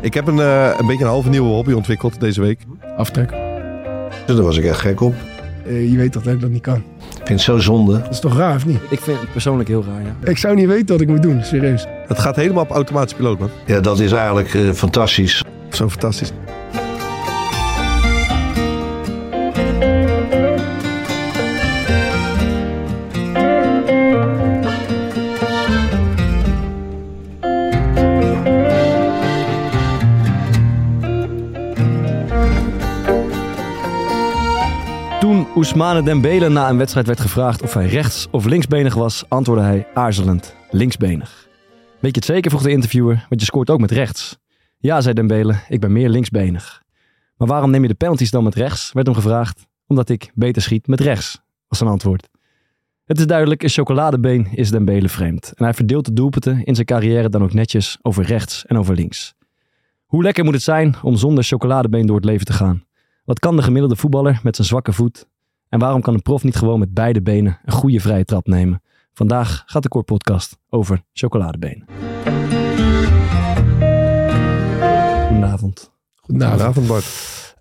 Ik heb een, eh, een beetje een halve nieuwe hobby ontwikkeld deze week. Aftrek. Daar was ik echt gek op. Eh, je weet dat hè, dat niet kan. Ik vind het zo zonde. Dat is toch raar of niet? Ik vind het persoonlijk heel raar, ja. Ik zou niet weten wat ik moet doen, serieus. Het gaat helemaal op automatische piloot, man. Ja, dat is eigenlijk eh, fantastisch. Zo fantastisch. Toen Ousmane Dembele na een wedstrijd werd gevraagd of hij rechts- of linksbenig was, antwoordde hij aarzelend, linksbenig. Weet je het zeker, vroeg de interviewer, want je scoort ook met rechts. Ja, zei Dembele, ik ben meer linksbenig. Maar waarom neem je de penalties dan met rechts, werd hem gevraagd. Omdat ik beter schiet met rechts, was zijn antwoord. Het is duidelijk, een chocoladebeen is Dembele vreemd. En hij verdeelt de doelpunten in zijn carrière dan ook netjes over rechts en over links. Hoe lekker moet het zijn om zonder chocoladebeen door het leven te gaan? Wat kan de gemiddelde voetballer met zijn zwakke voet? En waarom kan een prof niet gewoon met beide benen een goede vrije trap nemen? Vandaag gaat de Kort Podcast over chocoladebenen. Goedenavond. Nou, Nou. Goedenavond. Goedenavond, Bart.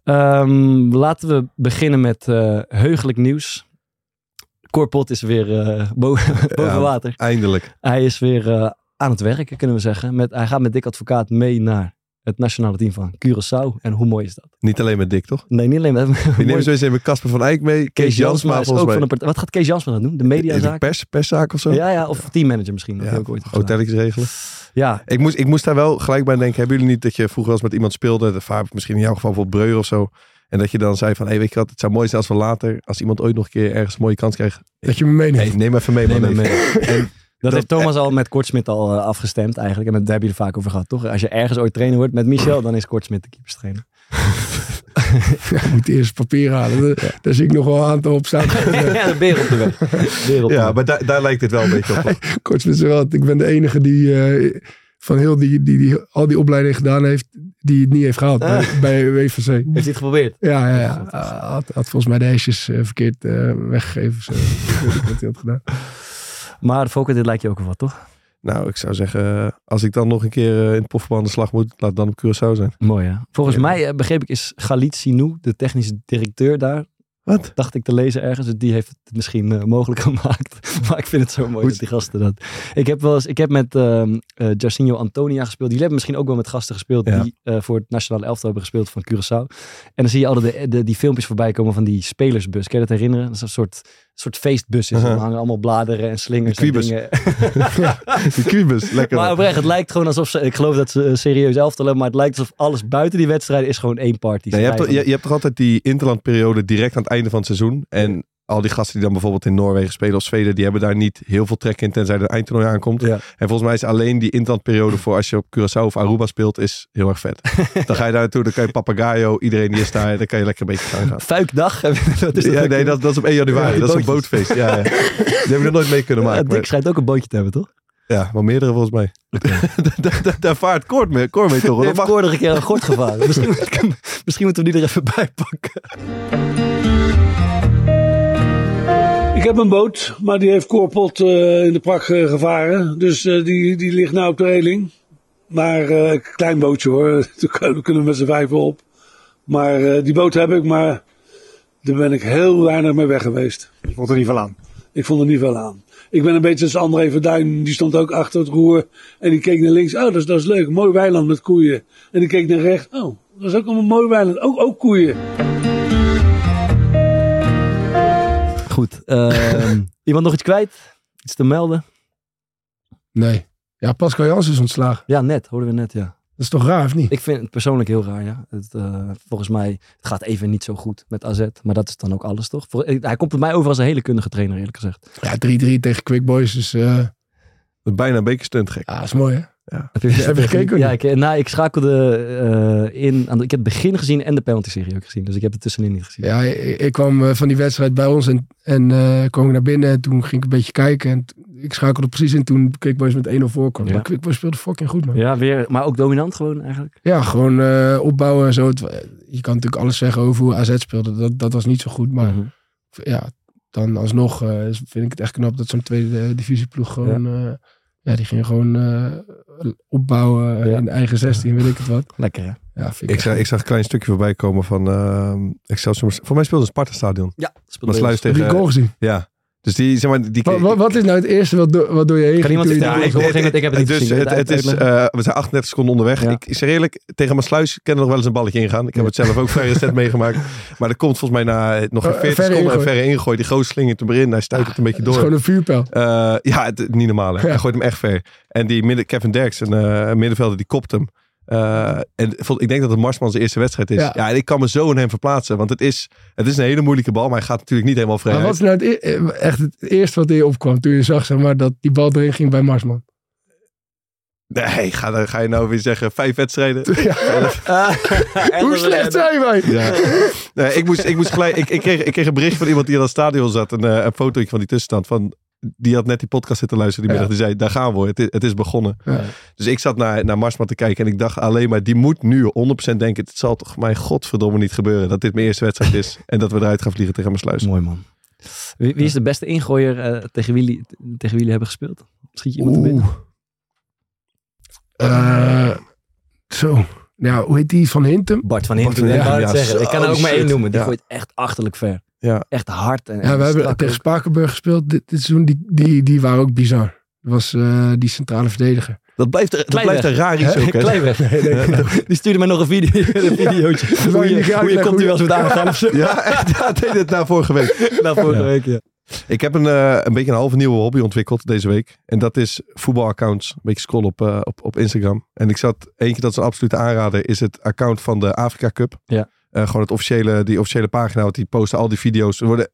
Ehm, laten we beginnen met eh heugelijk nieuws. Korpot is weer eh, bo- boven Ja. water. Eindelijk. Hij is weer eh, aan het werken, kunnen we zeggen. Met, hij gaat met Dick Advocaat mee naar het nationale team van Curaçao. En hoe mooi is dat? Niet alleen met Dick, toch? Nee, niet alleen maar. Die mooi- nemen sowieso even Casper van Eyck mee. Kees Kees Jansma Jansma is ook volgens van mij. de partij. Wat gaat Kees Jansma dan doen? De Is het mediazaak? Pers, perszaak of zo? Ja, ja, of teammanager misschien. Dat Ja, heb ik ooit gedaan. Hotelletjes regelen. Ja, Ik moest, ik moest daar wel gelijk bij denken. Hebben jullie niet dat je vroeger als met iemand speelde, de Faber, misschien in jouw geval bijvoorbeeld Breuer of zo, en dat je dan zei van, hé, weet je wat, het zou mooi zijn als we later, als iemand ooit nog een keer ergens een mooie kans krijgt, Dat je me meeneemt. hey, neem even mee, neem man. hem mee. En Dat, Dat- heeft Thomas al met Kortsmit al eh, afgestemd eigenlijk. En dat hebben jullie vaak over gehad, toch? Als je ergens ooit trainer wordt met Michel, dan is Kortsmit de keeperstrainer. Ik moet eerst papier halen. Daar, daar zie ik nog wel een aantal op staan. ja, de beer op de weg. Beer op de ja, weg. maar daar- daar lijkt dit wel een beetje op. Kort met z'n allen, ik ben de enige die eh, van heel die, die, die al die opleidingen gedaan heeft, die het niet heeft gehaald bij, bij WVC. Ah. Heeft hij het geprobeerd? Ja, ja, ja. Had, had volgens mij de hesjes eh, verkeerd eh, weggegeven. of Zo. Ik weet niet wat hij had gedaan. Maar Fokker, dit lijkt je ook wel wat, toch? Nou, ik zou zeggen, eh, als ik dan nog een keer eh, in het profvoetbal aan de slag moet, laat het dan op Curaçao zijn. Mooi, hè? Volgens Ja. mij, eh, begreep ik, is Galit Sinou, de technische directeur daar, Wat? dacht ik te lezen ergens. dus Die heeft het misschien eh, mogelijk gemaakt. maar ik vind het zo mooi Goed. dat die gasten dat... Ik heb, wel eens, ik heb met ehm eh, Jairzinho Antonia gespeeld. Jullie hebben misschien ook wel met gasten gespeeld... Ja. die eh, voor het nationale elftal hebben gespeeld van Curaçao. En dan zie je altijd de, de- die filmpjes voorbij komen van die spelersbus. Kan je dat herinneren? Dat is een soort, soort feestbus. Is. Uh-huh. Er hangen allemaal bladeren en slingers Die en kwiebus. dingen. Die kubus, lekker. Maar oprecht, het lijkt gewoon alsof ze... Ik geloof dat ze een serieus elftal hebben... maar het lijkt alsof alles buiten die wedstrijd is gewoon één party. Nee, je, hebt toch, je, je hebt toch altijd die interlandperiode direct aan het einde van het seizoen. En al die gasten die dan bijvoorbeeld in Noorwegen spelen of Zweden, die hebben daar niet heel veel trek in tenzij er een eindtoernooi aankomt. Ja. En volgens mij is alleen die interlandperiode voor als je op Curaçao of Aruba speelt, is heel erg vet. Dan ga je daar naartoe, dan kan je Papagayo, iedereen die is daar, dan kan je lekker een beetje gaan gaan. Fuikdag. Dus dat is dat Ja, ook? nee, dat, dat is op 1 januari. Ja, dat is een bootjes. bootfeest. Ja, ja. Die heb ik nog nooit mee kunnen Ja, maken. Dick maar- schijnt ook een bootje te hebben, toch? ja, wel meerdere volgens mij. Daar- daar- daar- Daar vaart Koor mee, Cor mee toch? hoor. Dat Ik mag- heb vorige keer een gort gevaren. misschien, moet ik hem- misschien moeten we die er even bij pakken. Ik heb een boot, maar die heeft Koorpot eh, in de prak eh, gevaren. Dus eh, die, die ligt nou op de reling. Maar eh, een klein bootje hoor, daar kunnen we met z'n vijven op. Maar eh, die boot heb ik, maar daar ben ik heel weinig mee weg geweest. Ik vond er niet veel aan. Ik vond er niet veel aan. Ik ben een beetje als André Verduin, die stond ook achter het roer. En die keek naar links, oh dat is, dat is leuk, mooi weiland met koeien. En die keek naar rechts, oh dat is ook een mooi weiland, ook, ook koeien. Goed. ehm, iemand nog iets kwijt? Iets te melden? Nee. Ja, Pascal Jans is ontslagen. Ja, net. Hoorden we net, ja. Dat is toch raar of niet? Ik vind het persoonlijk heel raar, ja. Het, eh, volgens mij het gaat even niet zo goed met AZ. Maar dat is dan ook alles, toch? Vol- eh, hij komt bij mij over als een hele kundige trainer, eerlijk gezegd. Ja, 3-3 tegen Quick Boys. Dus eh, Bijna een bekerstunt gek. ja, dat is mooi hè? Ja. Heb je, Heb je gekeken of Ja, niet? ik, nou, ik schakelde eh, in. Aan de, ik heb het begin gezien en de penalty-serie ook gezien. Dus ik heb het tussenin niet gezien. Ja, ik, ik kwam eh, van die wedstrijd bij ons en, en eh, kwam ik naar binnen. En toen ging ik een beetje kijken. En t- ik schakelde precies in toen Quickboys met 1-0 voorkwam. Ja. Maar Quickboys speelde fucking goed, man. Ja, Ja, weer, maar ook dominant gewoon eigenlijk. gewoon eh, opbouwen en zo. Het wa- je kan natuurlijk alles zeggen over hoe AZ speelde. Dat, dat was niet zo goed. Maar Mhm. ja, dan alsnog eh, vind ik het echt knap dat zo'n tweede eh, divisieploeg gewoon... eh, ja, die ging gewoon eh, opbouwen Ja. in de eigen 16, weet ik het wat. Lekker hè? Ja, vind ik Ik zag, ik zag een klein stukje voorbij komen van ehm Excelsior. Voor mij speelde een Sparta-stadion. Ja, Dat sluis Heb je die goal tegen... gezien? Ja. Dus die, zeg maar, die... Wat, wat, wat is nou het eerste wat, do- wat door je heen Kan ging iemand toen je het die vertellen? goal- ik- ik- ik- ik heb het niet dus gezien. Het, het is, eh, we zijn 38 seconden onderweg. Ja. Ik, ik zeg eerlijk, tegen mijn sluis kan er nog wel eens een balletje ingaan. Ik heb het zelf ook vrij recent meegemaakt. Maar er komt volgens mij na eh, nog geen Eh, 40 verre seconden een ingooi. verre ingooi. Die goos slingert hem erin. Hij stuit het een beetje Het is door. gewoon een vuurpijl. Eh, ja, het, niet normaal. Hè. Hij gooit hem echt ver. En die midden, Kevin Derks, een eh, middenvelder, die kopt hem. Eh, en vol- ik denk dat het Marsman zijn eerste wedstrijd is. Ja. Ja. en ik kan me zo in hem verplaatsen. Want het is, het is een hele moeilijke bal, maar hij gaat natuurlijk niet helemaal vrij. Maar wat is nou het, e- eh, echt het eerste wat in je opkwam toen je zag zeg maar, dat die bal erin ging bij Marsman? Nee, ga, dan- ga je nou weer zeggen, vijf wedstrijden? Hoe slecht zijn wij? Ja. Nee, ik, moest, ik, moest gelijk, ik, ik, kreeg, ik kreeg een bericht van iemand die aan het stadion zat. Een, eh, een fotootje van die tussenstand. Van, die had net die podcast zitten luisteren die Ja. middag. Die zei, daar gaan we. Het is, het is begonnen. Ja. Dus ik zat naar, naar Marsman te kijken. En ik dacht alleen maar, die moet nu 100% denken. Het zal toch mijn godverdomme niet gebeuren. Dat dit mijn eerste wedstrijd is. en dat we eruit gaan vliegen tegen mijn sluis. Mooi man. Wie, wie is de beste ingooier eh, tegen, wie, jullie- tegen wie jullie hebben gespeeld? Schiet je iemand er binnen? Eh, zo. Nou, hoe heet die van Hintem? Bart van Bart Hinten. van ik wou Hinten, het ja, zeggen. Ik kan zo er ook maar één shit. noemen. Die Ja. gooit echt achterlijk ver. Ja. Echt hard. En, Ja, en we hebben strak tegen ook. Spakenburg gespeeld dit, dit seizoen. Die, die, die waren ook bizar. Dat was eh, die centrale verdediger. Dat blijft, er- dat Kleinweg. blijft een raar iets ook. hè? Kleinweg. Die stuurde mij nog een, video, een videootje. Hoe niet je, hoe je uitleggen komt hoe hier je- wel eens met aangaan of zo. Ja, echt. Ja, deed het na vorige week. Na vorige Ja. week, ja. Ik heb een, eh, een beetje een halve nieuwe hobby ontwikkeld deze week. En dat is voetbalaccounts. Een beetje scrollen op, eh, op, op Instagram. En ik zat, eentje dat is een absolute aanrader, is het account van de Afrika Cup. Ja. Eh, gewoon het officiële, die officiële pagina, want die posten al die video's. Er worden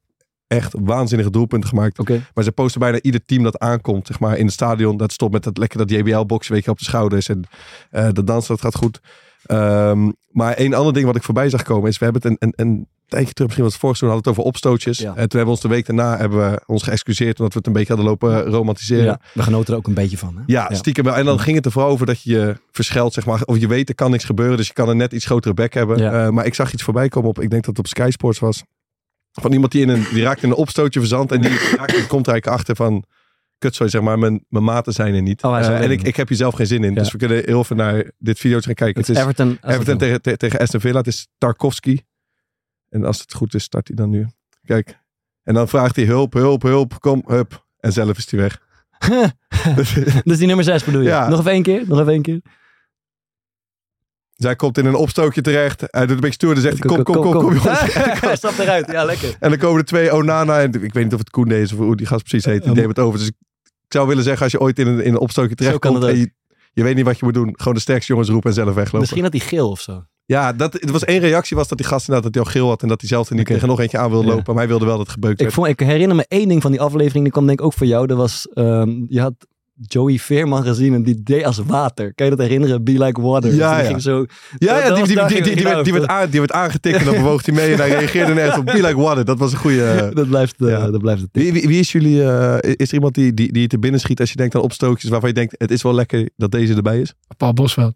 echt waanzinnige doelpunten gemaakt. Oké. Maar ze posten bijna ieder team dat aankomt, zeg maar, in het stadion. Dat stopt met dat lekker dat JBL-boxje, weet je, op de schouders. En eh de dans, dat gaat goed. Ehm, maar één ander ding wat ik voorbij zag komen is, we hebben het een, een, een tijdje terug, misschien was het vorig seizoen, hadden we het over opstootjes. Ja. En toen hebben we ons de week daarna hebben we ons geëxcuseerd, omdat we het een beetje hadden lopen romantiseren. Ja, Ja. we genoten er ook een beetje van. Hè? stiekem. wel. En dan ging het er vooral over dat je je verschilt, zeg maar. Of je weet, er kan niks gebeuren, dus je kan een net iets grotere bek hebben. Ja. Eh, maar ik zag iets voorbij komen op, ik denk dat het op Sky Sports was. Van iemand die, in een, die raakt in een opstootje verzand. En die, raakt- die komt er eigenlijk achter van... Kut, sorry, zeg maar, mijn, mijn maten zijn er niet. Oh, hij is Eh, alleen. en ik, ik heb hier zelf geen zin in. Ja. Dus we kunnen heel veel naar dit video's gaan kijken. Het het is Everton. als Everton het- tegen, te- tegen Aston Villa. Het is Tarkovsky. En als het goed is, start hij dan nu. Kijk. En dan vraagt hij hulp, hulp, hulp. Kom, hup. En zelf is hij weg. Dus die nummer 6 bedoel je? Ja. Nog even één keer? Nog even één keer? Zij komt in een opstootje terecht. Hij doet een beetje stoer. Dan zegt hij, kom, kom, kom, kom, jongens. Hij stapt eruit. Ja, lekker. En dan komen er twee Onana. En ik weet niet of het Koende is of hoe die gast precies heet. Die neemt het over. Dus ik ik zou willen zeggen, als je ooit in een, in een opstootje terechtkomt... kan het en je, je weet niet wat je moet doen. Gewoon de sterkste jongens roepen en zelf weglopen. Misschien had hij geel of zo. Ja, dat, er was één reactie was dat die gast inderdaad dat hij al geel had. En dat hij zelf er niet Oké. tegen nog eentje aan wilde Ja. lopen. Maar hij wilde wel dat het gebeukt Ik, werd. vond, ik herinner me één ding van die aflevering. Die kwam denk ik ook voor jou. Dat was, ehm, je had Joey Veerman gezien en die deed als water. Kan je dat herinneren? Be like water. Ja, Dus die ja. ging zo... Ja, Dat- ja dat die, was die, daar die, die, ging die ik werd, die, nou werd aan, die werd aangetikt en dan bewoog hij mee. En hij reageerde net op Be Like Water. Dat was een goede... Dat blijft, eh, Ja. dat blijft het. Wie, wie, wie is jullie... eh, is er iemand die, die, die je te binnen schiet als je denkt aan opstootjes... waarvan je denkt, het is wel lekker dat deze erbij is? Paul Bosveld.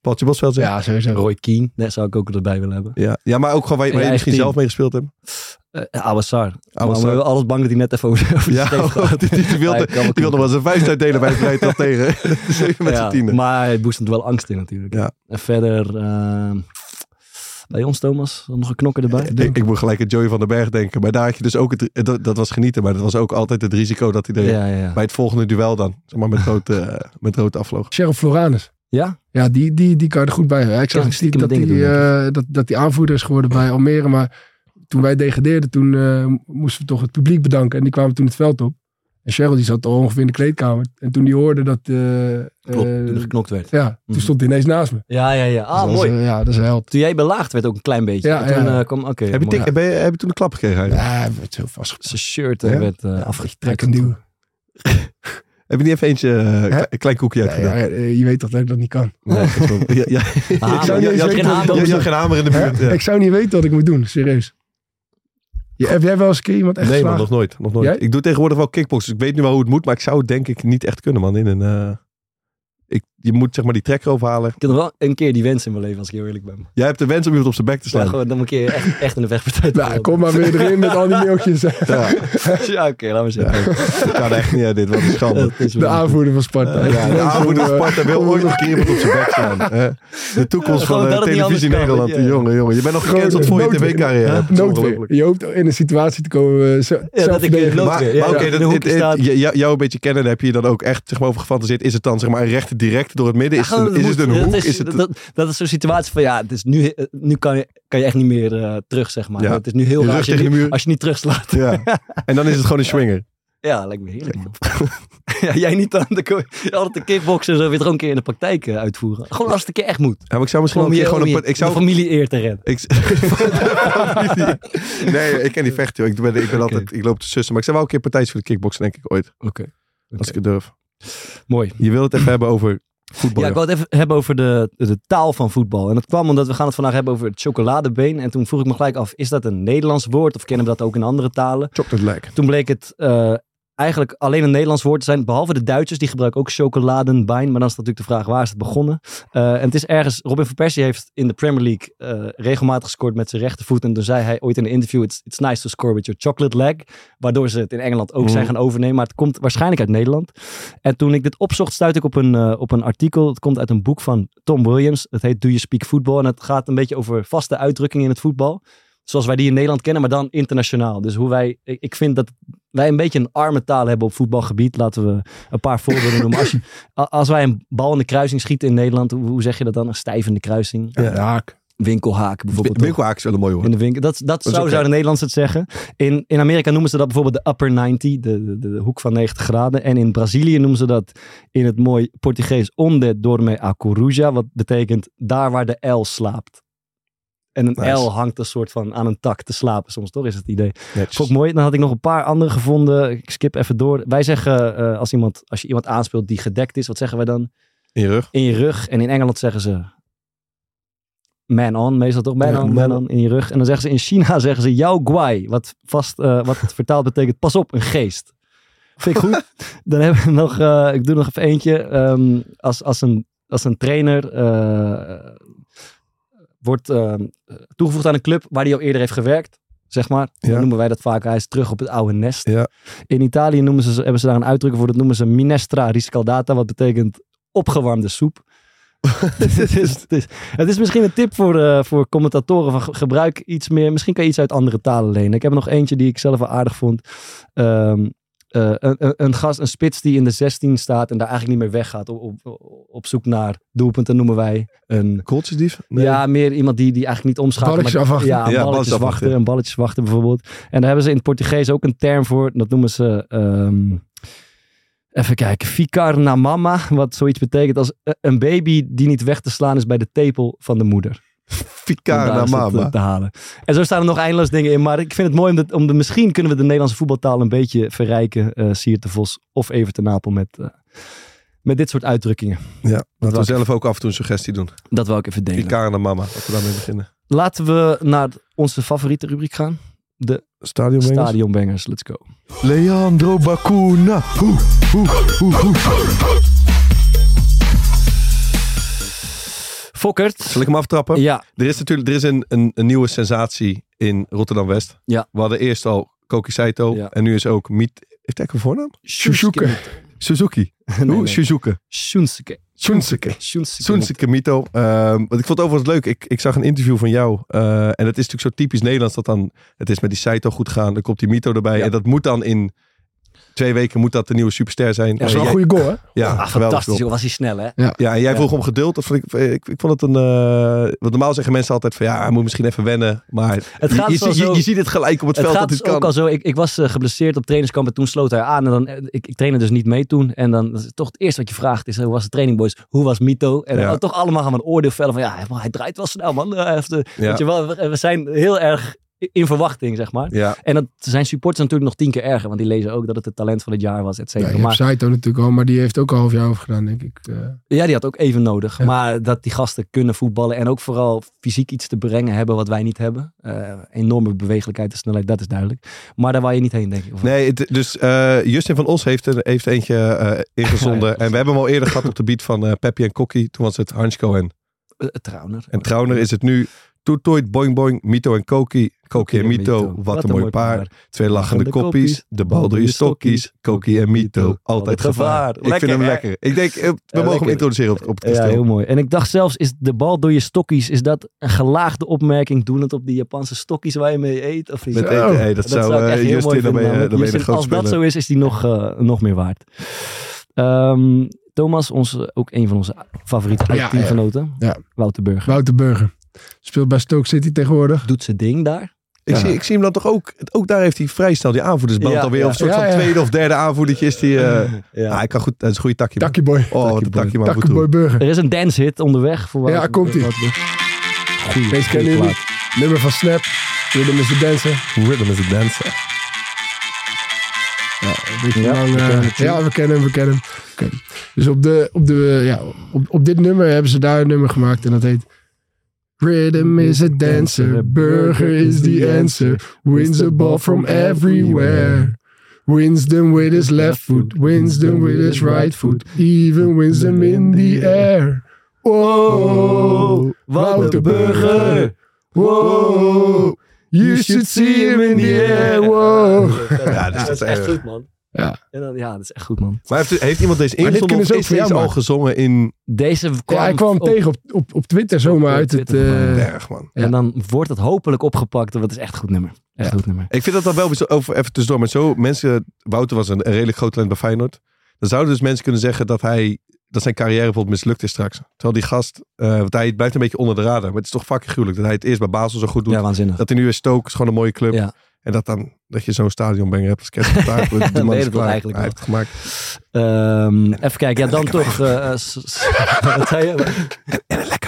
Paultje Bosveld zegt. Ja, sowieso. Roy Keane. Daar zou ik ook erbij willen hebben. Ja. ja, maar ook gewoon waar je, Ja, waar je eigen misschien team. zelf mee gespeeld hebt. Eh Awassar. Maar we Awassar. hebben alles bang dat hij net even over, over de Ja, scheef gaat. die, die, die Hij wilde, kan wel die wilde knokken. wel zijn vijf uitdelen bij het rijtuig tegen. Zeven met Ja, zijn tiende. Maar het boezemt wel angst in natuurlijk. Ja. En verder... ehm, bij ons, Thomas, nog een knokker erbij. Ik, ik moet gelijk aan Joey van den Berg denken. Maar daar had je dus ook... Het, dat, dat was genieten, maar dat was ook altijd het risico dat hij er... Ja, ja, ja. Bij het volgende duel dan. Zeg maar met rood, eh, met rood afvloog. Sheriff Floranus. Ja? Ja, die, die, die kan je er goed bij hebben. Ja, Ik Kan zag stiekem niet dat dingen die, doen, eh, dat, dat die aanvoerder is geworden bij Almere. Maar toen wij degradeerden, toen eh, moesten we toch het publiek bedanken. En die kwamen toen het veld op. En Cheryl die zat al ongeveer in de kleedkamer. En toen die hoorde dat... eh, Klopt, eh, toen er geknokt werd. ja, Mhm. toen stond hij ineens naast me. Ja, ja, ja. Ah, Dus dat is, mooi. eh, ja, dat is een held. Toen jij belaagd werd ook een klein beetje. Ja, En toen ja. eh, kwam, oké. Heb je, mooi. tik- ben je, heb je toen een klap gekregen? eigenlijk? Ja, hij werd zo vastgepakt. Zijn shirt eh, Ja? werd eh afgetrekt. Trek en duwen. Heb je niet even eentje, eh, Hè? een klein koekje Ja, uitgedaan? ja, eh, je weet toch dat ik dat niet kan. Nee, dat klopt. Ja, ja. Ah, Je- je- je je had hebt geen geen- hamer. je- je had geen hamer in de Hè? buurt. ja. Ik zou niet weten wat ik moet doen, serieus. Je, heb jij wel eens een keer iemand echt Nee man, geslagen? nog nooit. Nog nooit. Jij? Ik doe tegenwoordig wel kickboxen. dus ik weet nu wel hoe het moet. Maar ik zou het denk ik niet echt kunnen man. In een, eh, ik, je moet zeg maar die trekker overhalen. Ik heb nog wel een keer die wens in mijn leven, als ik heel eerlijk ben. Jij hebt de wens om iemand op zijn bek te Ja, slaan. gewoon, dan moet ik je echt, echt in de vechtpartij te Nou, kom maar weer erin met al die mailtjes. Ja, Ja, oké, laat maar ja. zitten. ik kan echt niet uit dit. Wat een schande. Dat is De wel- aanvoerder van Sparta. Ja, de aanvoerder van Zo, eh, Sparta wil ooit nog een keer iemand op zijn bek slaan. hè. De toekomst Gewoon van eh, dat het niet televisie anders kan, Nederland. weet je. Jongen, jongen. Je bent nog gecanceld Grote voor je noodweer. tv-carrière. hè. Noodweer. Je hoopt in een situatie te komen eh, zo- Ja, dat ik eh, zelfverdediging. loop Maar, weer. maar Ja, oké, in de dat- hoekje het- het- staat. j- jou- jou een beetje kennen, heb je dan ook echt zeg maar, over gefantaseerd? Is het dan zeg maar een rechte direct door het midden? Is Ja, het een, gewoon, is het moet- een hoek? Dat is, Is het dat, dat is zo'n situatie van ja, het is nu, eh, nu kan, je, kan je echt niet meer eh, terug, zeg maar. Ja. Het is nu heel Je raar rug als je, tegen de niet- muur. als je niet terugslaat. Ja. En dan is het gewoon een swinger. Ja, lijkt me heerlijk. man. ja, jij niet dan. Dan kun je altijd de kickboksen zo weer gewoon een keer in de praktijk eh, uitvoeren. Gewoon als het een keer echt moet. Ja, maar ik zou misschien wel Om een je, keer gewoon om een... je pa- Ik zou, de familie eer te redden. ik, nee, ik ken die vecht, joh. Ik, ben, ik, ben altijd, ik loop te sussen. Maar ik zou wel een keer partijtjes voor de kickboksen, denk ik, ooit. Oké. Als ik het durf. Mooi. Je wil het even hebben over voetbal. Ja, ik joh. wou het even hebben over de, de taal van voetbal. En dat kwam omdat we gaan het vandaag hebben over het chocoladebeen. En toen vroeg ik me gelijk af, is dat een Nederlands woord? Of kennen we dat ook in andere talen? Chocolate leg. Toen bleek het eh, eigenlijk alleen een Nederlands woord te zijn. Behalve de Duitsers, die gebruiken ook chocoladenbein. Maar dan is natuurlijk de vraag, waar is het begonnen? Eh, en het is ergens, Robin van Persie heeft in de Premier League eh, regelmatig gescoord met zijn rechtervoet. En toen zei hij ooit in een interview, it's, it's nice to score with your chocolate leg. Waardoor ze het in Engeland ook zijn gaan overnemen. Maar het komt waarschijnlijk uit Nederland. En toen ik dit opzocht, stuitte ik op een, eh, op een artikel. Het komt uit een boek van Tom Williams. Het heet Do You Speak Football? En het gaat een beetje over vaste uitdrukkingen in het voetbal. Zoals wij die in Nederland kennen, maar dan internationaal. Dus hoe wij, ik, ik vind dat wij een beetje een arme taal hebben op voetbalgebied. Laten we een paar voorbeelden noemen. Als, je- a- als wij een bal in de kruising schieten in Nederland, hoe, hoe zeg je dat dan? Een stijvende kruising. Ja, de haak. Winkelhaak bijvoorbeeld. toch? Winkelhaak is wel een mooi hoor. In de winkel. Dat, dat, is zo oké. zouden Nederlands het zeggen. In, in Amerika noemen ze dat bijvoorbeeld de upper 90, de, de, de hoek van 90 graden. En in Brazilië noemen ze dat in het mooi Portugees onde dorme a coruja. Wat betekent daar waar de L slaapt. En een Nice. L hangt een soort van aan een tak te slapen soms, toch? Is het idee. Netjes. Vond ik mooi. Dan had ik nog een paar andere gevonden. Ik skip even door. Wij zeggen, eh, als, iemand, als je iemand aanspeelt die gedekt is, wat zeggen wij dan? In je rug. in je rug. En in Engeland zeggen ze man on, meestal toch? Man Ja, on, man man on, in je rug. En dan zeggen ze in China, zeggen ze jouw guai. Wat, vast, eh, wat vertaald betekent, pas op, een geest. Vind ik goed. dan hebben we nog, eh, ik doe nog even eentje. Ehm, als, als, een, als een trainer eh, wordt ehm, toegevoegd aan een club waar hij al eerder heeft gewerkt, zeg maar. Ja. Dan noemen wij dat vaak, hij is terug op het oude nest. Ja. In Italië noemen ze, hebben ze daar een uitdruk voor, dat noemen ze minestra riscaldata, wat betekent opgewarmde soep. het, is, het, is, het is misschien een tip voor, eh, voor commentatoren. Van ge- gebruik iets meer. Misschien kan je iets uit andere talen lenen. Ik heb er nog eentje die ik zelf wel aardig vond. Ehm, eh, een, een, een gast, een spits die in de 16 staat en daar eigenlijk niet meer weggaat. Op, op, op zoek naar doelpunten noemen wij een. Kooltjesdief? Nee. Ja, meer iemand die, die eigenlijk niet omschakelt. Balletjes maar- afwachten. Ja, Ja, balletjes, balletjes wachten. afwachten. Een balletjes wachten bijvoorbeeld. En daar hebben ze in het Portugees ook een term voor. Dat noemen ze... ehm, even kijken. Ficar na mama. Wat zoiets betekent als eh, een baby die niet weg te slaan is bij de tepel van de moeder. Om Ficar daar naar eens dat, eh, mama. Te, halen. En zo staan er nog eindeloos dingen in. Maar ik vind het mooi om, dat, om de, misschien kunnen we de Nederlandse voetbaltaal een beetje verrijken. eh Siert de Vos of even te Napel met, eh, met dit soort uitdrukkingen. Ja, laten we was- zelf ook af en toe een suggestie doen. Dat wil ik even delen. Ficar naar mama. Laten we daarmee beginnen. Laten we naar onze favoriete rubriek gaan. De Stadion Stadionbangers. Let's go. Leandro Bacuna. Hoe, hoe, hoe, hoe. Fokkert. Zal ik hem aftrappen? Ja, Er is natuurlijk er is een, een, een nieuwe sensatie in Rotterdam-West. Ja. We hadden eerst al Koki Saito. Ja. En nu is ook Miet... Heeft hij ook een voornaam? Suzuki. Suzuki. Nee, Hoe? nee. Suzuki. Soensuke. Sunsuke. Soensuke. Soensuke Mito. Ehm, want ik vond het overigens leuk. Ik, ik zag een interview van jou. eh, en het is natuurlijk zo typisch Nederlands dat dan... Het is met die Saito goed gaan. Dan komt die Mito erbij. Ja. En dat moet dan in twee weken moet dat de nieuwe superster zijn. Dat is wel Eh, een jij- goede goal, hè? Ja, Ah, geweldig. fantastisch. joh. Was hij snel, hè? Ja, en jij Ja. vroeg om geduld. Dat vond ik, ik, ik vond het een... eh, want normaal zeggen mensen altijd van... Ja, hij moet misschien even wennen. Maar Het je- gaat je, wel ziet- je, zo- je ziet het gelijk op het, Het veld gaat dat dit dus kan. ook al zo. Ik, ik was eh, geblesseerd op trainingskamp en toen sloot hij aan. En dan, eh, ik, ik trainde dus niet mee toen. En dan dat is toch het eerste wat je vraagt is, eh, hoe was de training boys? Hoe was Mito? En dan Ja. toch allemaal gaan we een oordeel vellen van, ja, hij- hij draait wel snel man. Eh, hij heeft, eh, Ja. weet je wel, we, we zijn heel erg in verwachting, zeg maar. Ja, En dat zijn supporters natuurlijk nog tien keer erger, want die lezen ook dat het het talent van het jaar was, et Ja, cetera. je hebt maar Saito natuurlijk al, maar die heeft ook een half jaar over gedaan, denk ik. Eh, ja, die had ook even nodig. Ja. Maar dat die gasten kunnen voetballen en ook vooral fysiek iets te brengen hebben wat wij niet hebben. Eh, enorme bewegelijkheid en snelheid, dat is duidelijk. Maar daar waar je niet heen, denk ik. Of- nee, het- dus eh, Justin van Os heeft, er, heeft eentje eh, ingezonden. Ja, ja. en we hebben hem al eerder gehad op de beat van eh Peppi en Kokkie. Toen was het Hansko en, Eh, Trauner. en Trauner. Is het nu Toetoit, Boing Boing, Mito en Koki. Koki en Mito, wat een mooi paar. Twee lachende Lachende koppies, koppies, de bal door je stokkies. Koki en Mito, altijd gevaar. Ik vind hem hè? lekker. Ik denk, eh, we mogen lekker. hem introduceren op, op het Ja, kasteel. heel mooi. En ik dacht zelfs, is de bal door je stokkies, is dat een gelaagde opmerking doelend op die Japanse stokkies waar je mee eet? Of niet? Met eten, hey, dat, zou, ik eh, echt heel mooi Justin, dan ben je, vinden, dan ben je namelijk. een groot Als dat speler. zo is, is die nog, eh, nog meer waard. Ehm, Thomas, onze, ook een van onze favoriete Ja, teamgenoten, ja. Wouter Burger, Wouter Burger. Speelt bij Stoke City tegenwoordig. doet zijn ding daar. Ik, Ja. zie, ik zie hem dan toch ook. Ook daar heeft hij vrij snel die aanvoerdersband Ja, alweer. ja. Of een soort Ja, van ja. tweede of derde aanvoerdertje is die. eh, ah, Ja. hij kan goed. Dat is een goede takje. man. Takkieboy. Oh, wat een takje maar goed Takkieboy Burger. Er is een dancehit onderweg. Voor Ja, Wouter komt-ie. Burger. Deze goeie kennen jullie. plaat. Nummer van Snap. Rhythm is the Dancer. doen. Rhythm is a dancer. Ja, een beetje Ja, lang, we eh, kennen het, ja. ja, we kennen hem, we kennen hem. Oké. Dus op, de, op, de, eh, ja, op, op dit nummer hebben ze daar een nummer gemaakt en dat heet... Rhythm is a dancer, burger is the answer, wins the ball from everywhere. Wins them with his left foot, wins them with his right foot, even wins them in the air. Wow, Wouter Burger. Wow, you should see him in the air. Wow. Ja, dat is dat is echt erg. goed, man. Ja. En dan, ja, dat is echt goed, man. Maar heeft, heeft iemand deze Maar dit ingezonden? kunnen Of ze ook is voor jou deze al maken. gezongen in. Deze kwam, Ja, hij kwam op- tegen op, op, op Twitter zomaar Op uit het... Twitter, eh, ja. Erg, man. En dan wordt het hopelijk opgepakt, want het is echt een goed nummer. Echt een goed nummer. Ik vind dat dan wel bijzo- over even tussendoor. Maar zo mensen. Wouter was een, een redelijk groot talent bij Feyenoord. Dan zouden dus mensen kunnen zeggen dat hij. Dat zijn carrière bijvoorbeeld mislukt is straks. Terwijl die gast. eh, want hij blijft een beetje onder de radar. Maar het is toch fucking gruwelijk dat hij het eerst bij Basel zo goed doet. Ja, waanzinnig. Dat hij nu is Stoke, is gewoon een mooie club. Ja. En dat dan dat je zo'n stadion brengt hebt als kerstpartij. de man weet is ik wel klaar. eigenlijk Hij wel. heeft het gemaakt. Ehm, even kijken, ja, dan toch. eh, eh, s- s- wat zei je?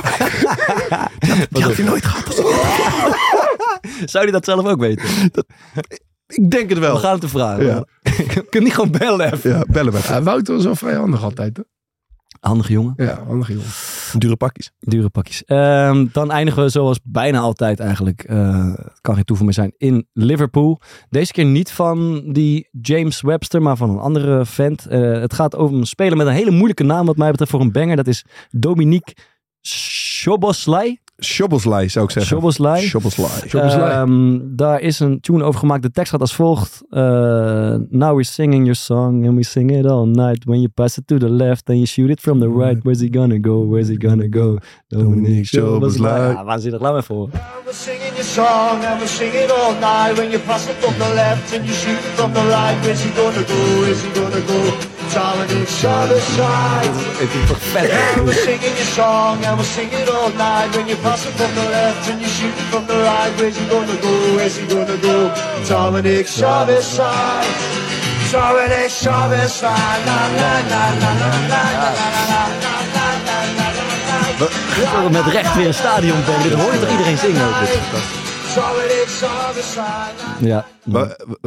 Die had hij nooit gehad. Zou hij dat zelf ook weten? Ik denk het We wel. gaan het hem vragen. Ja. Ik kan niet gewoon bellen even. Ja, bellen we even. ja, Wouter was wel vrij handig altijd. Hè? Handige jongen. Ja, handig jongen. Dure pakjes. Dure pakjes. Ehm, dan eindigen we zoals bijna altijd eigenlijk. eh, het kan geen toeval meer zijn. In Liverpool. Deze keer niet van die James Webster, maar van een andere vent. Eh, het gaat over een speler met een hele moeilijke naam, wat mij betreft, voor een banger. Dat is Dominique Szoboszlai. Shobbelslij zou ik zeggen. Szoboszlai. Shobbelslij. Szoboszlai. Ehm, daar is een tune over gemaakt. De tekst gaat als volgt. eh, now we're singing your song and we sing it all night. When you pass it to the left and you shoot it from the right. Where's he gonna go? Where's he gonna go? Dominique Szoboszlai. Ja, waanzinnig. Laat me even horen. We're singing your song and we sing it all night. When you pass it from the left and you shoot it from the right, where's he gonna go? Is he gonna go? Darling, it's out of sight. Het is toch vet. And we're singing your song and we sing it all night. When you pass it from the left and you shoot it from the right, where's he gonna go? Is he gonna go? Darling, it's out of sight. Darling, it's out of sight. La la la la la la la la la la la la la la. Voor Met recht weer een stadion bang. Dit hoort toch iedereen zingen ook. dit? Darling, it's out of sight. La- Ja. We,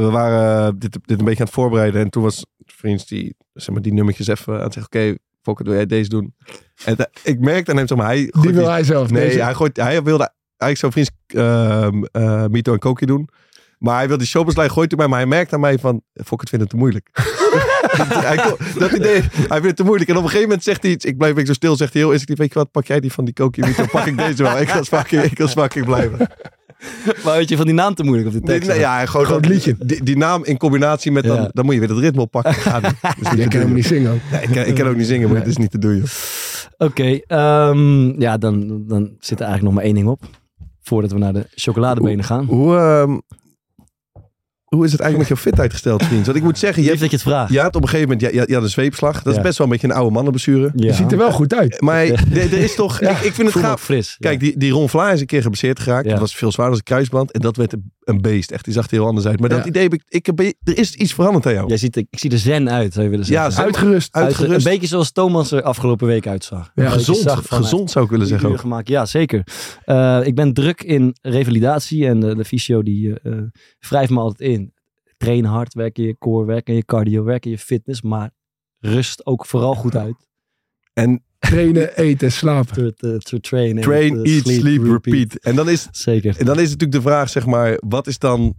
we waren eh, dit, dit een beetje aan het voorbereiden. En toen was vriends die, zeg maar, die nummertjes even aan het zeggen. Oké, Fokker, wil jij deze doen? En da- ik merkte aan hem, zeg maar, hij... Die gooit wil hij zelf. Nee, deze. hij, gooit, hij wilde eigenlijk zo vriends ehm, eh, Mito en Koki doen. Maar hij wilde die showbeslijn gooit erbij. Maar hij merkt aan mij van, fok het vindt het te moeilijk. hij, kon- dat idee, hij vindt het te moeilijk. En op een gegeven moment zegt hij iets. Ik blijf ik zo stil. Zegt hij heel instinctief. Weet je wat, pak jij die van die Koki en Mito. Pak ik deze wel. Ik was fucking, ik was fucking blijven. Maar weet je van die naam te moeilijk op de tekst? Dit- ja, gewoon dat liedje. Die, die naam in combinatie met dan, Ja. dan moet je weer het ritme oppakken. Gaat niet. Dat is niet te Jij kan doen. helemaal niet zingen ook. Nee, ik, kan, ik kan ook niet zingen, maar het is niet te doen. joh. Oké, ehm, ja, dan, dan zit er eigenlijk nog maar één ding op. Voordat we naar de chocoladebenen gaan. Hoe, ehm, hoe is het eigenlijk met jouw fitheid gesteld, vriend? Want ik moet zeggen, je Lief hebt, dat je het vraagt. je had op een gegeven moment ja, ja, ja, de zweepslag. Dat Ja. is best wel een beetje een oude mannenblessure. Ja. Je ziet er wel goed uit. Maar er er is toch... ik, ik vind Voel het me ook gaaf. fris. Kijk, die, die Ron Vlaar is een keer geblesseerd geraakt. Ja. Dat was veel zwaarder als een kruisband. En dat werd een- een beest. Echt, die zag er heel anders uit. Maar dat Ja. idee heb ik... ik heb, er is iets veranderd aan jou. Ja. Jij ziet, er- ik zie er zen uit, zou je willen Ja, zeggen. zen- Uitgerust. Uitge- uitgerust. Een beetje zoals Thomas er afgelopen week uitzag. Ja, Dat je gezond, zag van, gezond zou ik willen zeggen uren ook. gemaakt. Ja, zeker. Eh, ik ben druk in revalidatie en de, de fysio die eh, eh, wrijft me altijd in. Train hard, werk in je core, werk in je cardio, werk in je fitness, maar rust ook vooral goed uit. eh, En Trainen, eten, slapen. To, to, to train, and train, to eat, sleep, repeat. En dan is, eh, Zeker. en dan is natuurlijk de vraag, zeg maar... Wat is dan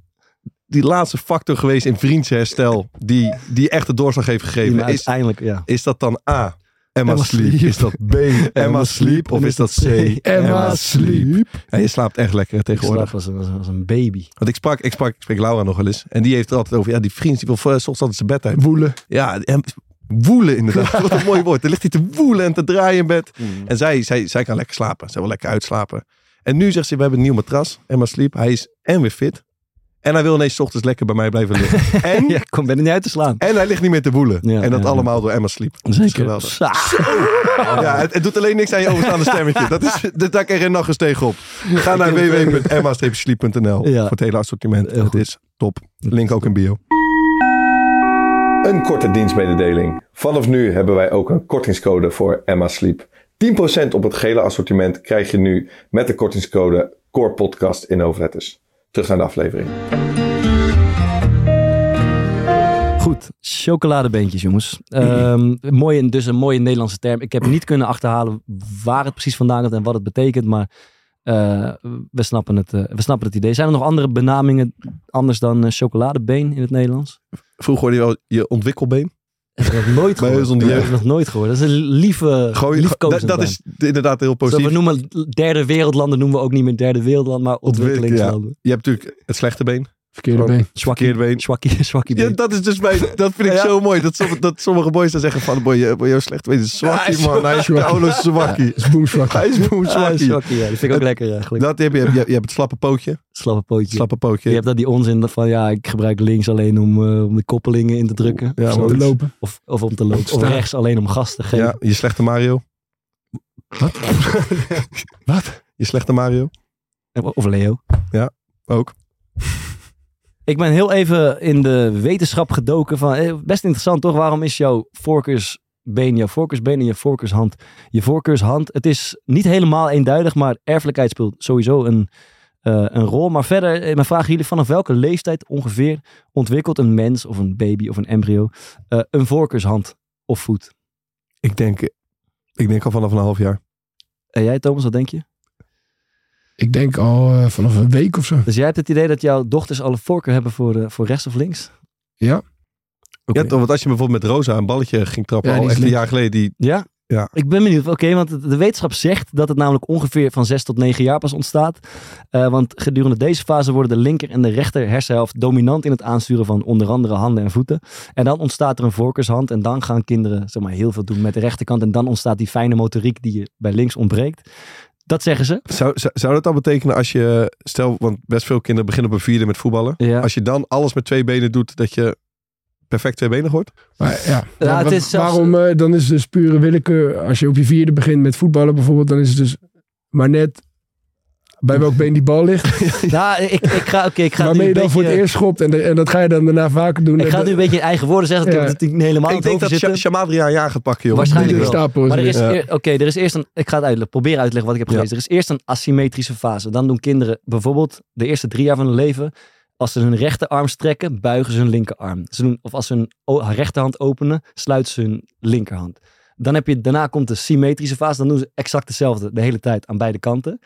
die laatste factor geweest in vriendsherstel... die, die echt de doorslag heeft Die me gegeven? Is, uiteindelijk, ja. is dat dan A, Emma, Emma sleep. Sleep. Is dat B, Emma Sleep? Of is dat C, Emma Sleep. En je slaapt echt lekker hè, Ik slaap tegenwoordig. als een, als een- als een baby. Want ik sprak, ik sprak, ik spreek Laura nog wel eens. En die heeft het altijd over, ja, die vriend die wil voor- 's ochtends altijd zijn bed uit. Woelen. Ja, en woelen inderdaad. Wat een mooi woord. Dan ligt hij te woelen en te draaien in bed. Mm. En zij, zij, zij kan lekker slapen. Zij wil lekker uitslapen. En nu zegt ze, we hebben een nieuw matras. Emma Sleep. Hij is en weer fit. En hij wil ineens 's ochtends lekker bij mij blijven liggen. En, Ja, ik kom, ben er niet uit te slaan. en hij ligt niet meer te woelen. Ja, en dat ja, ja. allemaal door Emma Sleep. Dat is geweldig. Sa. Ja, het, het doet alleen niks aan je overstaande stemmetje. Dat is, dat daar krijg je nog eens tegen op. Ga naar www.emma-sleep.nl Ja. voor het hele assortiment. Heel Het goed. is top. Link ook in bio. Een korte dienstmededeling. Vanaf nu hebben wij ook een kortingscode voor Emma Sleep. 10% op het gele assortiment krijg je nu met de kortingscode COREPODCAST in hoofdletters. Terug naar de aflevering. Goed, chocoladebeentjes, jongens. Ehm mooi, dus een mooie Nederlandse term. Ik heb niet kunnen achterhalen waar het precies vandaan komt en wat het betekent, maar eh, we, snappen het, eh, we snappen het idee. Zijn er nog andere benamingen anders dan eh, chocoladebeen in het Nederlands? Vroeger hoorde je wel je ontwikkelbeen. Ik heb ik nog nooit Bij gehoord. ons om die Ik heb jeugd. het nog nooit gehoord. Dat is een lieve, Gooi- liefkozend dat, dat term. is inderdaad heel Dus positief. we noemen derde wereldlanden noemen we ook niet meer derde wereldland, maar Ontwikkeling, ontwikkelingslanden. Je hebt natuurlijk het slechte been, Verkeerde Oh. been. Zwakkie, verkeerde been, zwakkie, zwakkie Ja, been. dat is dus mijn. Dat vind ik Ja. zo mooi. Dat sommige, dat sommige boys dan zeggen van, boy, je- boy jou slecht weet. Zwakkie, man. Hij is zwakkie. oude zwakkie. Dat is boemzwak. Hij is boem Ah, zwakkie. zwakkie, ja. Die vind ik ook lekker eigenlijk. Dat heb je, je, je hebt het slappe pootje. Slappe pootje. Slappe pootje. Je hebt dat die onzin van ja, ik gebruik links alleen om, eh, om de koppelingen in te drukken. Ja, Of maar- Te zo. lopen. of, of om te lopen. Of Staan. rechts alleen om gas te geven. ja, je slechte Mario. Wat? Wat? Je slechte Mario. Eh, Of Leo. Ook. Ik ben heel even in de wetenschap gedoken van eh, best interessant toch? Waarom is jouw voorkeursbeen, jouw voorkeursbeen en je voorkeurshand je voorkeurshand? Het is niet helemaal eenduidig, maar erfelijkheid speelt sowieso een, eh, een rol. Maar verder, eh, mijn vraag aan jullie: vanaf welke leeftijd ongeveer ontwikkelt een mens of een baby of een embryo eh, een voorkeurshand of voet? Ik denk, ik denk al vanaf een half jaar. En jij, Thomas, wat denk je? Ik denk al eh, vanaf een week of zo. Dus jij hebt het idee dat jouw dochters alle voorkeur hebben voor, eh, voor rechts of links? Ja. Ja, toch, want als je bijvoorbeeld met Rosa een balletje ging trappen, Ja, die al is echt een links. jaar geleden, die, Ja? Ja. Ik ben benieuwd. Oké, want de wetenschap zegt dat het namelijk ongeveer van 6 tot 9 jaar pas ontstaat. Eh, want gedurende deze fase worden de linker en de rechter hersenhelft dominant in het aansturen van onder andere handen en voeten. En dan ontstaat er een voorkeurshand en dan gaan kinderen zeg maar, heel veel doen met de rechterkant. En dan ontstaat die fijne motoriek die je bij links ontbreekt. Dat zeggen ze. zou, zou, zou dat dan betekenen als je, stel, want best veel kinderen beginnen op een vierde met voetballen. Ja. Als je dan alles met twee benen doet, dat je perfect tweebenig wordt. Maar ja, Ja, wa- het is zelfs- waarom? eh, dan is het dus pure willekeur. Als je op je vierde begint met voetballen bijvoorbeeld, dan is het dus maar net bij welk been die bal ligt. Nou, ik, ik ga, oké, ik ga het nu waarmee je een dan voor het beetje- eerst schopt. En, de- en dat ga je dan daarna vaker doen. Ik ga het nu een beetje in eigen woorden zeggen. Ja. Dat ik niet helemaal ik denk dat zitten. Sha- Shamadria een jaar gaat pakken, joh. Waarschijnlijk de wel. stapel. Maar er is, Ja. eer- oké, er is eerst een. Ik ga het uitleggen, proberen uit te leggen wat ik Ja. heb gelezen. Er is eerst een asymmetrische fase. Dan doen kinderen bijvoorbeeld de eerste drie jaar van hun leven. Als ze hun rechterarm strekken, buigen ze hun linkerarm. Ze doen, of als ze hun o- haar rechterhand openen, sluiten ze hun linkerhand. Dan heb je, daarna komt de symmetrische fase. Dan doen ze exact hetzelfde de hele tijd aan beide kanten.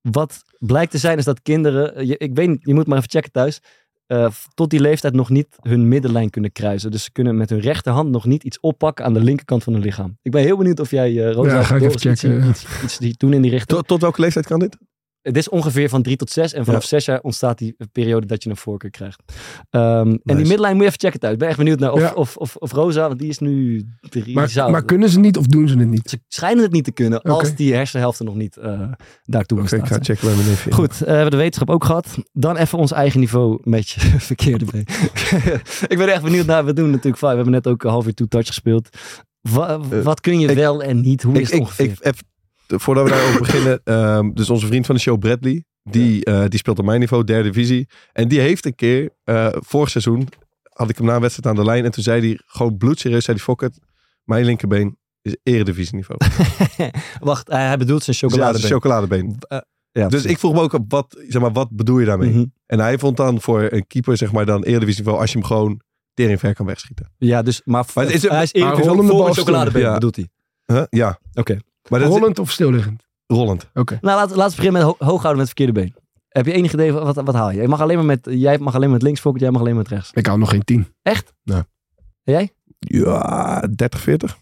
Wat blijkt te zijn is dat kinderen, eh, je, ik weet, niet, je moet maar even checken thuis, eh, f- tot die leeftijd nog niet hun middenlijn kunnen kruisen. Dus ze kunnen met hun rechterhand nog niet iets oppakken aan de linkerkant van hun lichaam. Ik ben heel benieuwd of jij, eh Rosa, Ja, ga ik Doris, even iets, checken. iets, iets die doen in die richting. Tot, tot welke leeftijd kan dit? Het is ongeveer van drie tot zes. En vanaf Ja. zes jaar ontstaat die periode dat je een voorkeur krijgt. Ehm, En die Nice. midline moet je even checken thuis. Ik ben echt benieuwd naar of, Ja. of, of, of Rosa, want die is nu drie. Maar, zou- maar kunnen ze niet of doen ze het niet? ze schijnen het niet te kunnen als Oké. die hersenhelften nog niet eh, daartoe Oké, ik bestaat. ga checken bij mijn neefje. Goed, eh, we hebben de wetenschap ook gehad. Dan even ons eigen niveau een beetje verkeerd erbij. ik ben echt benieuwd naar, we doen natuurlijk vaak. We hebben net ook een half uur two touch gespeeld. Wa- Eh, wat kun je ik- wel en niet? Hoe Ik, is het ik, ongeveer? ik, even, voordat we daarover beginnen. ehm, dus onze vriend van de show, Bradley. Die, eh, die speelt op mijn niveau, derde divisie. En die heeft een keer, eh, vorig seizoen, had ik hem na een wedstrijd aan de lijn. En toen zei hij gewoon bloedserieus, zei hij, fuck it, mijn linkerbeen is eredivisieniveau. Dus Wacht, hij hij bedoelt zijn ja, het is een chocoladebeen. chocoladebeen. Eh, ja, Dus ik vroeg me ook, wat, zeg maar, wat bedoel je daarmee? Mhm. En hij vond dan voor een keeper, zeg maar, dan eredivisieniveau als je hem gewoon tering ver kan wegschieten. Ja, dus, maar, Maar het is een- hij is Maar eerder rollende voor een balstoel. chocoladebeen, Ja. bedoelt hij. Huh? Ja. Oké. Maar dat Rollend of stilliggend? is rollend. Nou, laten, laten we beginnen met ho- hoog houden met het verkeerde been. Heb je enig idee, wat, wat haal je? je mag alleen maar met, jij mag alleen maar met links fokken, jij mag alleen maar met rechts. Ik hou nog geen tien. Echt? Ja. En jij? Ja, 30, 40.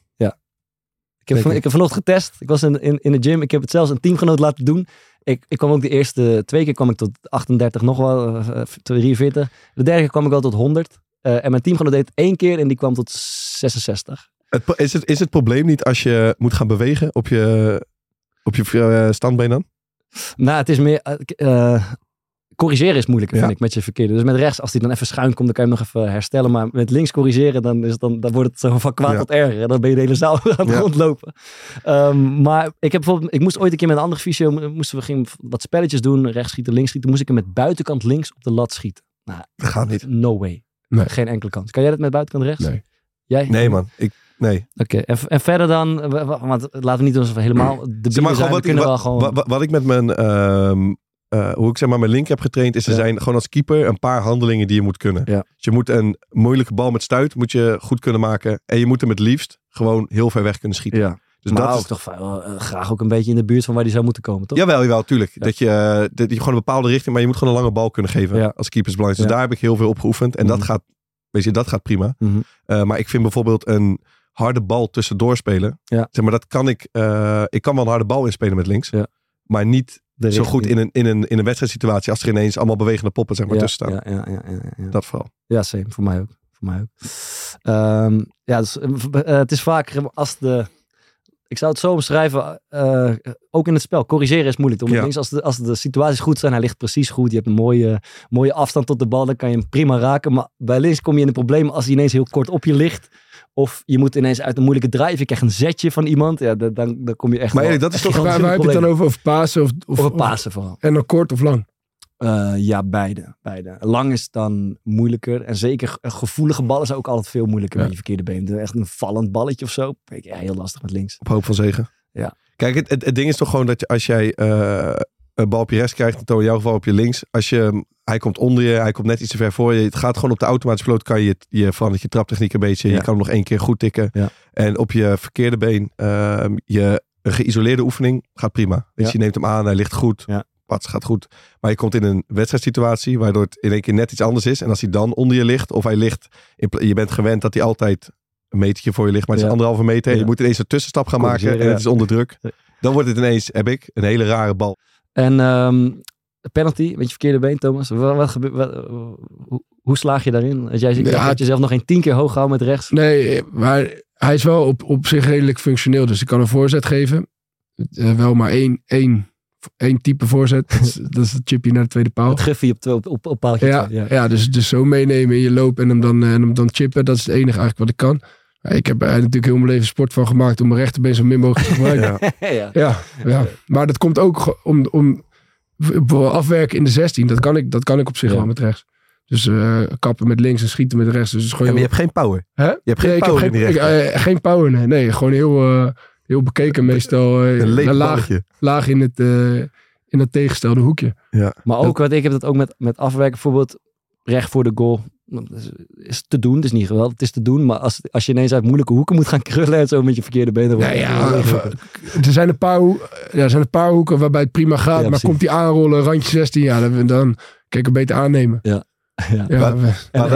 Ik heb, van, Zeker. ik heb vanochtend getest. Ik was in, in, in de gym. Ik heb het zelfs een teamgenoot laten doen. Ik, ik kwam ook de eerste twee keer kwam ik tot 38, nog wel eh, 43. De derde keer kwam ik wel tot 100. Eh, en mijn teamgenoot deed het één keer en die kwam tot 66. Het, pro- is, het, is het probleem niet als je moet gaan bewegen op je, op je eh, standbeen dan? Nou, het is meer... eh, k- eh, corrigeren is moeilijker, vind Ja. ik, met je verkeerde. Dus met rechts, als die dan even schuin komt, dan kan je hem nog even herstellen. Maar met links corrigeren, dan, is het dan, dan wordt het zo van kwaad Ja. tot erger. En dan ben je de hele zaal aan het Ja. rondlopen. Ehm, maar ik heb bijvoorbeeld, ik moest ooit een keer met een andere fysio, mo- moesten we gingen wat spelletjes doen, rechts schieten, links schieten. Moest ik hem met buitenkant links op de lat schieten. Dat gaat niet. No way. Nee. Geen enkele kans. Kan jij dat met buitenkant rechts? Nee. Jij? Nee man, ik, nee. Oké, en, v- en verder dan, w- w- want laten we niet doen alsof we helemaal de Zeg maar, zijn. gewoon We wat, ik, kunnen wel wat, gewoon... wat, wat- wat ik met mijn, ehm, eh, hoe ik zeg maar mijn link heb getraind, is er Ja. zijn gewoon als keeper een paar handelingen die je moet kunnen. Ja. Dus je moet een moeilijke bal met stuit moet je goed kunnen maken. En je moet hem het liefst gewoon heel ver weg kunnen schieten. ja. Dus maar dat ook is, toch wel, eh, graag ook een beetje in de buurt van waar die zou moeten komen, toch? Jawel, jawel, tuurlijk. Dat, je, eh, dat je gewoon een bepaalde richting, maar je moet gewoon een lange bal kunnen geven Ja. als keeper is belangrijk. Dus Ja. daar heb ik heel veel op geoefend. En Mhm. dat gaat, weet je, dat gaat prima. Mhm. Eh, maar ik vind bijvoorbeeld een harde bal tussendoor spelen. Ja. Zeg maar, dat kan ik, eh, ik kan wel een harde bal inspelen met links. Ja. Maar niet De zo richting. goed in een, in, een, in een wedstrijdsituatie als er ineens allemaal bewegende poppen zeg maar, ja, tussen staan. Ja, ja, ja, ja, ja. Dat vooral. Ja, same. Voor mij ook. Voor mij ook. Ehm, ja, dus, eh, v- eh, het is vaak als de... Ik zou het zo omschrijven, eh, ook in het spel. Corrigeren is moeilijk. Omdat Ja. links, als, de, als de situaties goed zijn, hij ligt precies goed. Je hebt een mooie, mooie afstand tot de bal, dan kan je hem prima raken. Maar bij links kom je in een probleem als hij ineens heel kort op je ligt. Of je moet ineens uit een moeilijke drive, je krijgt een zetje van iemand. Ja, dan, dan, dan kom je echt... Maar wel Erik, dat is toch- gigantisch Waar, in waar de heb je het dan problemen. over? Of Pasen of... of, Of een Pasen vooral. en dan kort of lang? Eh, ja, beide, beide. Lang is dan moeilijker. En zeker ge- gevoelige ballen zijn ook altijd veel moeilijker Ja. met je verkeerde been. Echt een vallend balletje of zo. Vind ik ja, heel lastig met links. Op hoop van zegen. Ja. Kijk, het, het, het ding is toch gewoon dat je, als jij eh, een bal op je rechts krijgt, dan in jouw geval op je links. Als je, hem- hij komt onder je, hij komt net iets te ver voor je. Het gaat gewoon op de automatische vloot. Kan je, je verandert je traptechniek een beetje. Ja. Je kan hem nog één keer goed tikken. Ja. En op je verkeerde been, eh, je een geïsoleerde oefening gaat prima. Dus Ja. je neemt hem aan, hij ligt goed. Ja. Pats gaat goed. Maar je komt in een wedstrijdsituatie waardoor het in één keer net iets anders is. En als hij dan onder je ligt, of hij ligt, in pla- je bent gewend dat hij altijd een metertje voor je ligt, maar het is Ja. anderhalve meter. En Ja. je moet ineens een tussenstap gaan maken Corrigeren, en het ja. is onder druk. Ja. Dan wordt het ineens, heb ik, een hele rare bal. En ehm, penalty met je verkeerde been, Thomas. Wat, wat gebe- wat- eh, hoe, hoe slaag je daarin? Als jij, jij Ja, hebt jezelf nog geen tien keer hoog gehouden met rechts. Nee, maar hij is wel op, op zich redelijk functioneel. Dus ik kan een voorzet geven. Eh, wel maar één, één, één type voorzet. Dat is- Dat is het chipje naar de tweede paal. Het guffie op, twee- op, op, op paaltje. Ja, twee, ja. dus, dus zo meenemen in je loop en hem, dan, eh, en hem dan chippen. Dat is het enige eigenlijk wat ik kan. Maar Ik heb er natuurlijk heel mijn leven sport van gemaakt om mijn rechterbeen zo min mogelijk te gebruiken. Ja. ja. Ja, ja. Eh, maar dat komt ook ge- om, om bijvoorbeeld afwerken in de 16. Dat kan ik, dat kan ik op zich Ja. wel met rechts. Dus eh, kappen met links en schieten met rechts. Dus het is gewoon Ja, maar je heel- hebt geen power. Hè? Je hebt geen Nee, ik heb power in die geen, rechter. ik, eh, geen power, nee. nee gewoon heel, eh, heel bekeken meestal. eh, Een leeg laag, balletje. laag in het, eh, in het tegenstelde hoekje. Maar ook, want ik heb dat ook met, met afwerken, bijvoorbeeld recht voor de goal. Dat is- Is te doen, het is niet geweldig, het is te doen. Maar als, als je ineens uit moeilijke hoeken moet gaan krullen en zo met je verkeerde benen. wordt Nou het ja, heel eh, er, zijn een paar, hoe- ja, er zijn een paar hoeken waarbij het prima gaat. maar precies. komt die aanrollen, randje 16, ja, dan, dan kan ik hem beter aannemen. Ja. Ja. Ja, we- En, Maar, en-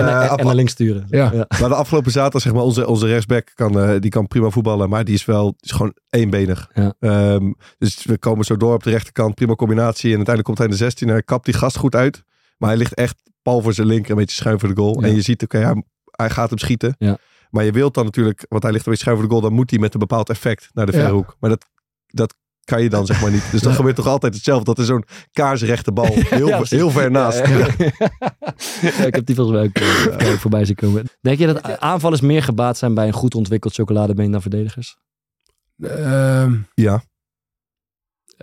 eh, en- en naar links sturen. Ja. Maar de afgelopen zaterdag, zeg maar, onze, onze rechtsback kan, eh, die kan prima voetballen. Maar die is wel is gewoon eenbenig. Ja. Ehm, dus we komen zo door op de rechterkant. Prima combinatie. En uiteindelijk komt hij in de 16 en hij kapt die gast goed uit. Maar hij ligt echt pal voor zijn linker. Een beetje schuin voor de goal. Ja. En je ziet, oké, hij, hij gaat hem schieten. Ja. Maar je wilt dan natuurlijk, want hij ligt een beetje schuin voor de goal. Dan moet hij met een bepaald effect naar de Ja. verhoek. Maar dat, dat kan je dan zeg maar niet. Dus dat gebeurt toch altijd hetzelfde. Dat is zo'n kaarsrechte bal. Heel, Ja, precies. heel ver naast. Ja, ja. Ja, ik heb die volgens mij ook eh, even voorbij zien komen. Denk je dat aanvallers meer gebaat zijn bij een goed ontwikkeld chocoladebeen dan verdedigers? ehm,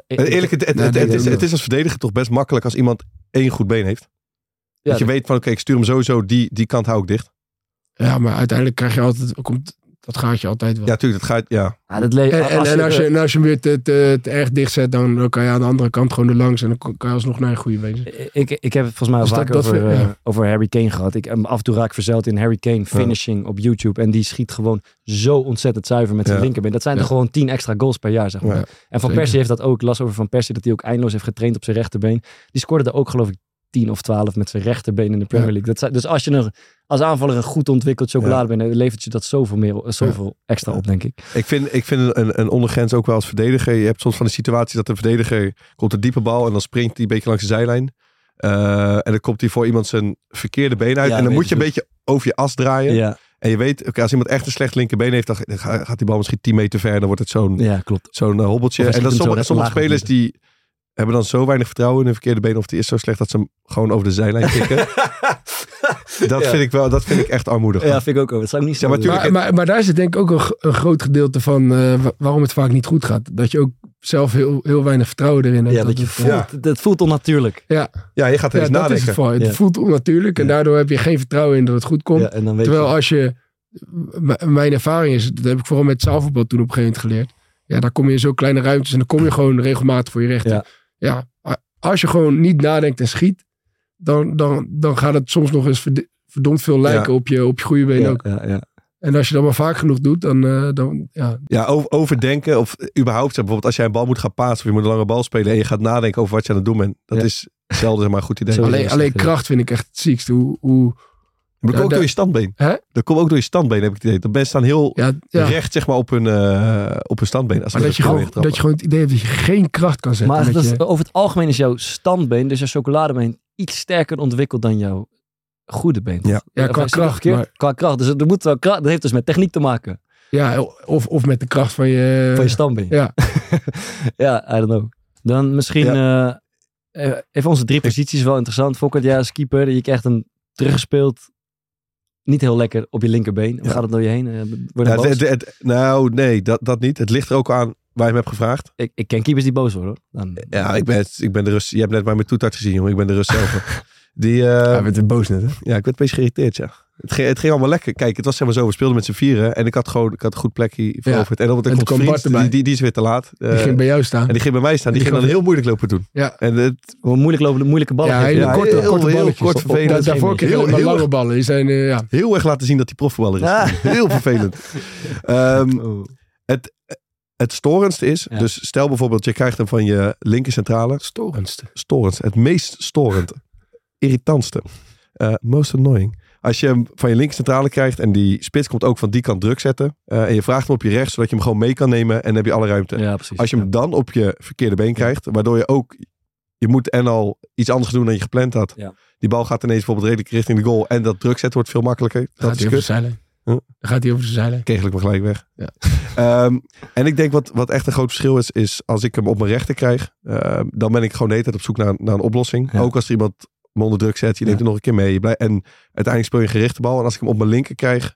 Eh, Eerlijk, het, het, Nee, het- nee, het is, nee. het is als verdediger toch best makkelijk als iemand één goed been heeft. Ja, dat je weet van, oké, ik stuur hem sowieso, die, die kant hou ik dicht. ja, maar uiteindelijk krijg je altijd, komt dat gaatje altijd wel. Ja, natuurlijk, dat gaat, ja. Ja, Ah, dat le- En, en, als Eh, en je- als, je, en als je hem weer te, te, te erg dicht zet, dan dan kan je aan de andere kant gewoon er langs. En dan kan je alsnog naar een goede been. Ik, ik heb het volgens mij al Dus dat- vaker dat over, vind- eh, ja. over Harry Kane gehad. Ik, eh, af en toe raak ik verzeld in Harry Kane finishing op YouTube. En die schiet gewoon zo ontzettend zuiver met zijn Ja. linkerbeen. Dat zijn er Ja. gewoon tien extra goals per jaar, zeg maar. Ja. En Van Zeker. Persie heeft dat ook. Ik las over Van Persie dat hij ook eindeloos heeft getraind op zijn rechterbeen. Die scoorde er ook, geloof ik, tien of twaalf met zijn rechterbeen in de Premier Ja. League. Dat zijn, dus als je een, als aanvaller een goed ontwikkeld chocoladebeen hebt, levert je dat zoveel, meer, zoveel extra op, denk ik. Ik vind, ik vind een, een ondergrens ook wel als verdediger. Je hebt soms van de situatie dat de verdediger komt een diepe bal en dan springt hij een beetje langs de zijlijn. Eh, en dan komt hij voor iemand zijn verkeerde been uit. Ja, en dan weet moet je ik een beetje over je as draaien. Ja, En je weet, oké, als iemand echt een slecht linkerbeen heeft, dan ga- gaat die bal misschien 10 meter ver. Dan wordt het zo'n ja klopt. zo'n eh, hobbeltje. Of hij En dat schiet hem sommige, zo sommige laag op spelers die hebben dan zo weinig vertrouwen in hun verkeerde been. Of die is zo slecht dat ze hem gewoon over de zijlijn kicken. dat, Ja. vind ik wel, dat vind ik echt armoedig. Ja, vind ik ook wel. Dat zou ik niet zo maar willen. tuurlijk- Maar, maar, maar daar zit denk ik ook een, g- een groot gedeelte van eh, wa- waarom het vaak niet goed gaat. Dat je ook zelf heel, heel weinig vertrouwen erin hebt. Ja, dat je het, voelt, ja. dat voelt onnatuurlijk. Ja, Ja, je gaat er ja, eens dat is het nadenken. vooral. Het Ja. voelt onnatuurlijk en daardoor heb je geen vertrouwen in dat het goed komt. Ja, en dan weet Terwijl je... als je, m- mijn ervaring is, dat heb ik vooral met zaalvoetbal toen op een gegeven moment geleerd. Ja, daar kom je in zo'n kleine ruimtes en dan kom je gewoon regelmatig voor je rechter. Ja. Ja, a- als je gewoon niet nadenkt en schiet, dan, dan, dan gaat het soms nog eens verd- verdomd veel lijken op, je, op je goede been Ja, ook. ja, ja. En als je dat maar vaak genoeg doet, dan, eh, dan ja, Ja, over- overdenken of überhaupt. zeg, Bijvoorbeeld als jij een bal moet gaan pasen of je moet een lange bal spelen. En je gaat nadenken over wat je aan het doen bent. Dat Ja. is zelden maar een goed idee. Zo Maar is alleen, het, alleen ja. kracht vind ik echt het ziekste. Hoe, hoe, dat komt Ja, ook dat- door je standbeen. Hè? Dat komt ook door je standbeen, heb ik het idee. De mensen staan heel ja, ja. recht zeg maar, op, hun, eh, op hun standbeen. Als ze Maar dat met een je, bal gewoon, intrappen. dat je gewoon het idee hebt dat je geen kracht kan zetten. Maar dat dat is- je- over het algemeen is jouw standbeen, dus jouw chocoladebeen, iets sterker ontwikkeld dan jouw goede been. Ja. Ja, qua kracht, maar- Qua kracht. Dus het moet wel kracht. Dat heeft dus met techniek te maken. ja, of, of met de kracht van je... van je standbeen. ja. ja, I don't know. Dan misschien eh, eh, even onze drie posities wel interessant. Fokker, ja, als keeper. Je krijgt hem teruggespeeld. Niet heel lekker op je linkerbeen. Hoe Ja. gaat het door je heen? Eh, Word je Ja, boos? het- het- het- nou, nee, dat, dat niet. Het ligt er ook aan waar je hem hebt gevraagd. ik, ik ken keepers die boos worden. hoor. Dan, Ja, ik ben, het- ik ben de Rus. Je hebt net bij mijn toetart gezien, jongen. Ik ben de Rus zelf. Die, eh, ja, Hij werd weer boos net, hè? ik werd een beetje geïrriteerd, ja. Het ging, het ging allemaal lekker. Kijk, het was zeg maar zo. We speelden met z'n vieren. En ik had gewoon ik had een goed plekje veroverd. En dan want er En komt toen kwam vriend, Bart erbij. die, die, die is weer te laat. Eh, Die ging bij jou staan. en die ging bij mij staan. Die, die ging dan kwam- heel moeilijk lopen doen. Ja. En eh, het, Hoe moeilijk lopen, moeilijke ballen. Ja, geven. hij- ja, korte- heel, korte heel balletjes. kort Op- op- vervelend. dat- Dat, daarvoor kreeg je Heel- alleen maar heel lange erg- ballen. Die zijn, eh, ja. Heel erg laten zien dat hij profvoetballer is. Ja. Heel vervelend. Ehm, Oh. het storendste is, Ja. dus stel bijvoorbeeld, je krijgt hem van je linker centrale. Storendste. storend. Het meest storend. Irritantste. eh, most annoying. Als je hem van je linkercentrale krijgt en die spits komt ook van die kant druk zetten. eh, en je vraagt hem op je rechts, zodat je hem gewoon mee kan nemen en dan heb je alle ruimte. Ja, precies. Als je hem dan op je verkeerde been krijgt, waardoor je ook, je moet en al iets anders doen dan je gepland had. Ja. Die bal gaat ineens bijvoorbeeld redelijk richting de goal en dat druk zetten wordt veel makkelijker. Dat Gaat is hij over de kut. zeilen. Huh? Dan gaat hij over de zeilen. Kegel ik me gelijk weg. Ja. Ehm, en ik denk wat, wat echt een groot verschil is, is als ik hem op mijn rechter krijg, ehm, dan ben ik gewoon de hele tijd op zoek naar, naar een oplossing. Ja. Ook als er iemand me onder druk zet, je neemt hem nog een keer mee. Je blij- en uiteindelijk speel je een gerichte bal. En als ik hem op mijn linker krijg,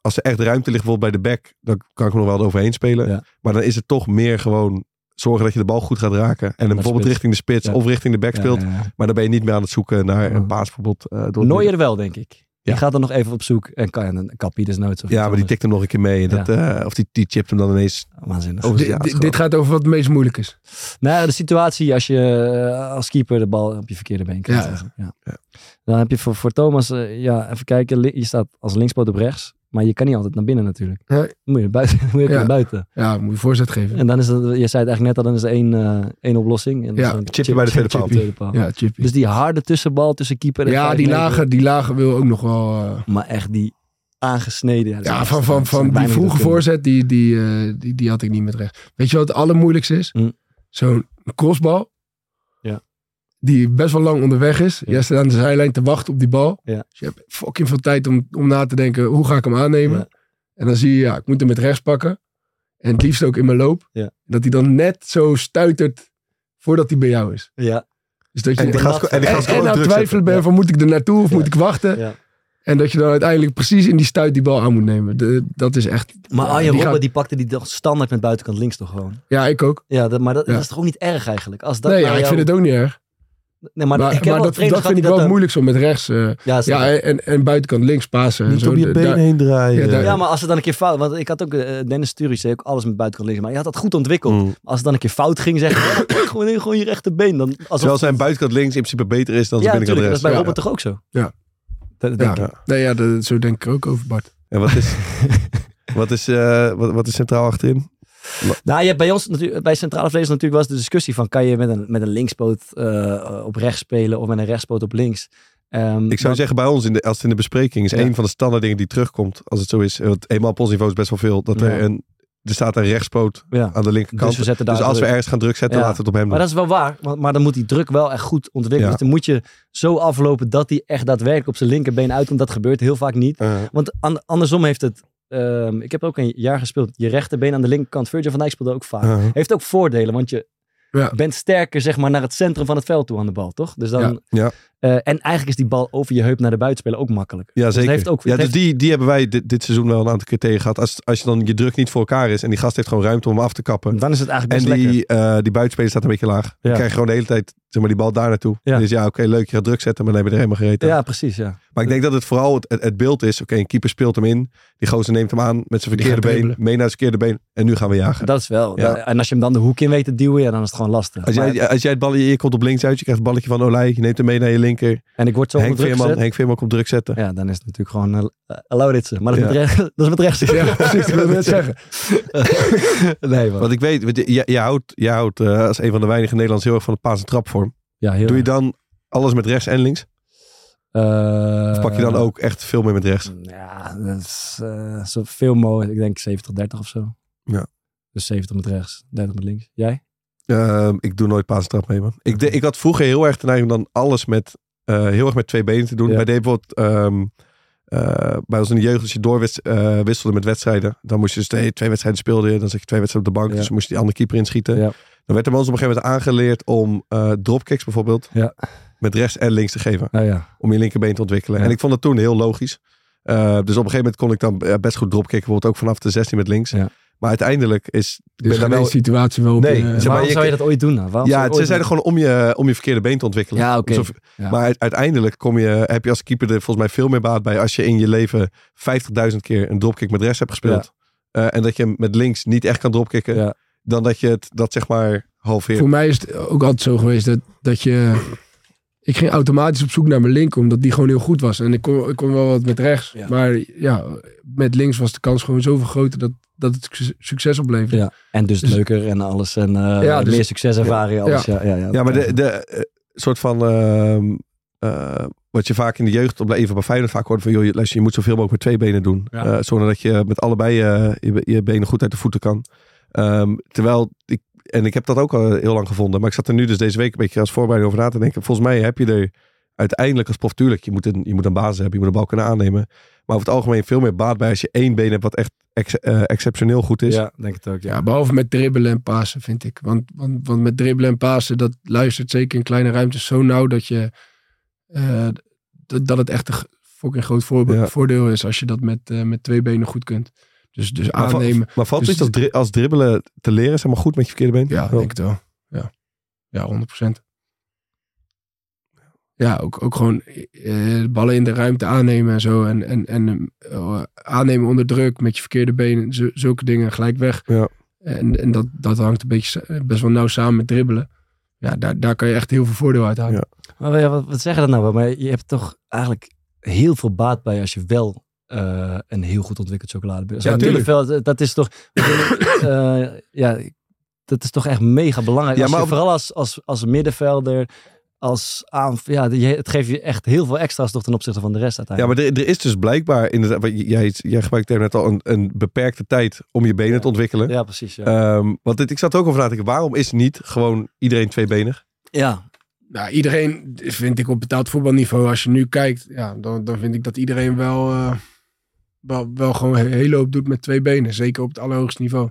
als er echt ruimte ligt bijvoorbeeld bij de back, dan kan ik hem nog wel eroverheen spelen. Ja. Maar dan is het toch meer gewoon zorgen dat je de bal goed gaat raken. En hem bijvoorbeeld spits. richting de spits Ja. of richting de back Ja, speelt. ja, ja. Maar dan ben je niet meer aan het zoeken naar Ja. een paas bijvoorbeeld. eh, door het midden. Neuer wel, denk ik. Die Ja. gaat dan nog even op zoek en kan een kappie dus desnoods. Of iets Ja, maar die anders. tikt hem nog een keer mee. En dat, eh, of die, die chipt hem dan ineens Waanzinnig. over Dit- de- ja, het is dit- gewoon- dit gaat over wat het meest moeilijk is. Nou, ja, de situatie als je eh, als keeper de bal op je verkeerde been krijgt. Ja. eigenlijk. Ja. Dan heb je voor, voor Thomas, eh, ja, even kijken. li- Je staat als linkspoot op rechts. Maar je kan niet altijd naar binnen natuurlijk. Nee. Dan moet je naar buiten. dan Moet je Ja. naar buiten. Ja, moet je voorzet geven. En dan is dat, je zei het eigenlijk net al, dan is er één, eh, één oplossing. En dat Ja, is een chipje bij de tweede chip- paal. tweede paal. Ja, chippy. Dus die harde tussenbal tussen keeper en ja, vijf die meter. lager, die lager wil ook nog wel... eh, Maar echt die aangesneden. dat is Ja, echt- van, dat van, is van die bijna niet vroege te kunnen. voorzet, die, die, eh, die, die had ik niet met recht. Weet je wat het allermoeilijkste is? Mm. Zo'n crossbal. Ja. Die best wel lang onderweg is. Ja. Jij staat aan de zijlijn te wachten op die bal. Ja. Dus je hebt fucking veel tijd om, om na te denken, hoe ga ik hem aannemen? Ja. En dan zie je, ja, ik moet hem met rechts pakken. En het liefst ook in mijn loop. Ja. Dat hij dan net zo stuitert voordat hij bij jou is. Ja, Dus dat je, En die dat- gast en die en, gast kan en ook aan het druk zetten. twijfelen ben van moet ik er naartoe of Ja. moet ik wachten. ja. En dat je dan uiteindelijk precies in die stuit die bal aan moet nemen. De- dat is echt... Maar Ja, Arjen die Robben gaat- die pakte die toch standaard met buitenkant links toch gewoon. Ja, ik ook. Ja, dat, maar dat, Ja. dat is toch ook niet erg eigenlijk. Als dat nee, ja, nou ik jou- vind het ook niet erg. Nee, Maar, maar, ik maar, ken wel dat, trainers dat vind gehad ik die wel dat moeilijk zo met rechts. eh, dan- Ja, snap ja, ik. en, en buitenkant links pasen. en Niet zo, op je da- been daar- heen draaien. Ja, daar- ja, maar als het dan een keer fout... Want ik had ook... eh, Dennis Sturis deed ook alles met buitenkant links. Maar je had dat goed ontwikkeld. Mm. Als het dan een keer fout ging, zeg je... ja, gewoon, in- gewoon je rechterbeen. Dan, alsof, Terwijl zijn buitenkant links in principe beter is dan ja, zijn binnenkant natuurlijk. Dat rechts. is bij Ja. Robben toch ook zo? Ja. eh, Dat, Ja. denk ik. Nee, ja, dat, zo denk ik er ook over Bart. En wat is, wat, is, eh, wat, wat is centraal achterin? Nou, je hebt bij ons natuurlijk, bij centrale vlees natuurlijk was de discussie van kan je met een, met een linkspoot eh, op rechts spelen of met een rechtspoot op links. Ehm, Ik zou maar- zeggen, bij ons, in de, als het in de bespreking is, Ja. een van de standaard dingen die terugkomt, als het zo is. Want eenmaal op ons niveau is best wel veel. Dat Ja. er, een, er staat een rechtspoot ja. aan de linkerkant. Dus we zetten daar Dus als we druk. ergens gaan druk zetten, Ja. laten we het op hem Maar doen. dat is wel waar, want, maar dan moet die druk wel echt goed ontwikkelen. Ja. Dus dan moet je zo aflopen dat hij echt daadwerkelijk op zijn linkerbeen uitkomt. Dat gebeurt heel vaak niet. Eh, Want an- andersom heeft het, ehm, ik heb ook een jaar gespeeld, je rechterbeen aan de linkerkant. Virgil van Dijk speelde ook vaak. eh. Heeft ook voordelen, want je Ja. bent sterker zeg maar, naar het centrum van het veld toe aan de bal, toch? Dus dan, Ja. Ja. Eh, en eigenlijk is die bal over je heup naar de buitenspelen ook makkelijker. Ja, Dus zeker. het heeft ook, ja, het dus heeft- die, die hebben wij dit, dit seizoen wel een aantal keer tegen gehad. Als, als je dan je druk niet voor elkaar is en die gast heeft gewoon ruimte om hem af te kappen. dan is het eigenlijk En best lekker. die, eh die buitenspeler staat een beetje laag. Dan krijg je gewoon de hele tijd zeg maar, die bal daar naartoe. Ja. Dus ja, oké, leuk, je gaat druk zetten, maar dan heb je er helemaal gereden. Ja, precies, ja. Maar ik denk dat het vooral het, het, het beeld is. Oké, een keeper speelt hem in. Die gozer neemt hem aan met zijn Die gaat verkeerde been. dribbelen. Mee naar zijn verkeerde been. En nu gaan we jagen. Dat is wel. Ja. da- En als je hem dan de hoek in weet te duwen, ja, dan is het gewoon lastig. Als Maar- jij, als jij het balletje, je komt op links uit. Je krijgt het balletje van Olij. Je neemt hem mee naar je linker. en ik word zo onder Henk druk Veerman, gezet. Henk Veerman komt druk zetten. Ja, dan is het natuurlijk gewoon eh, eh, Lauritsen. Maar dat is, Ja. met, rechts- dat is met rechts. Ja, precies. Ik wil net zeggen. nee, man. Want ik weet, want je, je- je houdt, je houdt eh, als een van de weinige Nederlanders heel erg van de paas- en trapvorm. Ja, heel Doe je dan alles met rechts en links? Eh, Of pak je dan ook echt veel meer met rechts? Ja, dat is eh, zoveel mogelijk. Ik denk 70-30 of zo. Ja. Dus 70 met rechts, 30 met links. Jij? Ehm, ik doe nooit paas en trap mee, man. Ik, de- ik had vroeger heel erg de neiging om dan alles met, eh, heel erg met twee benen te doen. Ja. Wij deden bijvoorbeeld, ehm, eh, bij ons in de jeugd, als je doorwisselde wisselde met wedstrijden, dan moest je dus twee, twee wedstrijden speelde je, dan zat je twee wedstrijden op de bank, Ja. dus dan moest je die andere keeper inschieten. Ja. Dan werd er bij ons op een gegeven moment aangeleerd om eh, dropkicks bijvoorbeeld, Ja. met rechts en links te geven, Nou ja. om je linkerbeen te ontwikkelen. Ja. En ik vond dat toen heel logisch. Eh, dus op een gegeven moment kon ik dan eh, best goed dropkicken, bijvoorbeeld ook vanaf de 16 met links. Ja. Maar uiteindelijk is... ik Dus ben daar geen wel- situatie wel op Nee, je- zeg maar, Waarom je- zou je dat ooit doen? Nou? Waarom zou je ja, ze ooit zijn er gewoon om je, om je verkeerde been te ontwikkelen. Ja, oké. Alsof- Ja. Maar u- uiteindelijk kom je, heb je als keeper er volgens mij veel meer baat bij als je in je leven 50.000 keer een dropkick met rechts hebt gespeeld. Eh, en dat je hem met links niet echt kan dropkicken. Ja. Dan dat je het, dat zeg maar halveert. Voor mij is het ook altijd zo geweest dat, dat je... Ik ging automatisch op zoek naar mijn link, omdat die gewoon heel goed was. En ik kon, ik kon wel wat met rechts. Ja. Maar ja, met links was de kans gewoon zoveel groter dat, dat het suc- succes opleverde. Ja, en dus, Dus- leuker en alles. En eh, Ja, dus- meer succes ervaren. Alles, ja. Ja, ja, Ja, maar de, de eh, soort van. ehm, eh, wat je vaak in de jeugd, op even bij Feyenoord vaak hoort van... joh, je- luister, je moet zoveel mogelijk met twee benen doen. Ja. Eh, zorg dat je met allebei eh, je, be- je benen goed uit de voeten kan. Ehm, terwijl, ik, en ik heb dat ook al heel lang gevonden... maar ik zat er nu dus deze week een beetje als voorbereiding over na te denken. Volgens mij heb je er uiteindelijk als prof... tuurlijk, je moet een, je moet een basis hebben, je moet een bal kunnen aannemen... maar over het algemeen veel meer baat bij als je één been hebt... wat echt ex- eh, exceptioneel goed is. ja, denk het ook. Ja. Ja, behalve met dribbelen en pasen, vind ik. Want, want, want met dribbelen en pasen, dat luistert zeker in kleine ruimtes zo nauw dat je... eh, dat, dat het echt een g- fucking groot voorbe- Ja. voordeel is als je dat met, eh, met twee benen goed kunt. Dus, dus Maar, va- aannemen. maar valt Dus- zoiets als, dri- als dribbelen te leren, zeg maar goed met je verkeerde been? Oh. Ja, ik denk het wel. Ja, ja 100%. Ja, ook, ook gewoon eh, ballen in de ruimte aannemen en zo. En, en, en eh, aannemen onder druk met je verkeerde been. Zo- zulke dingen gelijk weg. Ja. En, en dat, dat hangt een beetje, sa- best wel nauw samen met dribbelen. Ja, daar, daar kan je echt heel veel voordeel uit halen. Ja. Maar ja, wat, wat zeggen dat nou? wel? Maar je hebt toch eigenlijk heel veel baat bij als je wel eh, een heel goed ontwikkeld chocoladebeer. Ja, Zo'n tuurlijk. middenveld, eh, dat is toch... eh, ja, dat is toch echt mega belangrijk. Ja, Als je- maar op- vooral als, als, als middenvelder, als aanv- ja, die- het geeft je echt heel veel extra's toch ten opzichte van de rest Ja, uiteindelijk. maar er, er is dus blijkbaar, inderdaad, wat j- jij, jij gebruikte net al een, een beperkte tijd om je benen te ontwikkelen. ja, precies. Ja. Ehm, want dit, ik zat ook over na te denken, waarom is niet gewoon iedereen tweebenig? ja, Nou, iedereen vind ik op betaald voetbalniveau, als je nu kijkt, ja, dan, dan vind ik dat iedereen wel, eh, wel, wel gewoon een hele hoop doet met twee benen. Zeker op het allerhoogste niveau.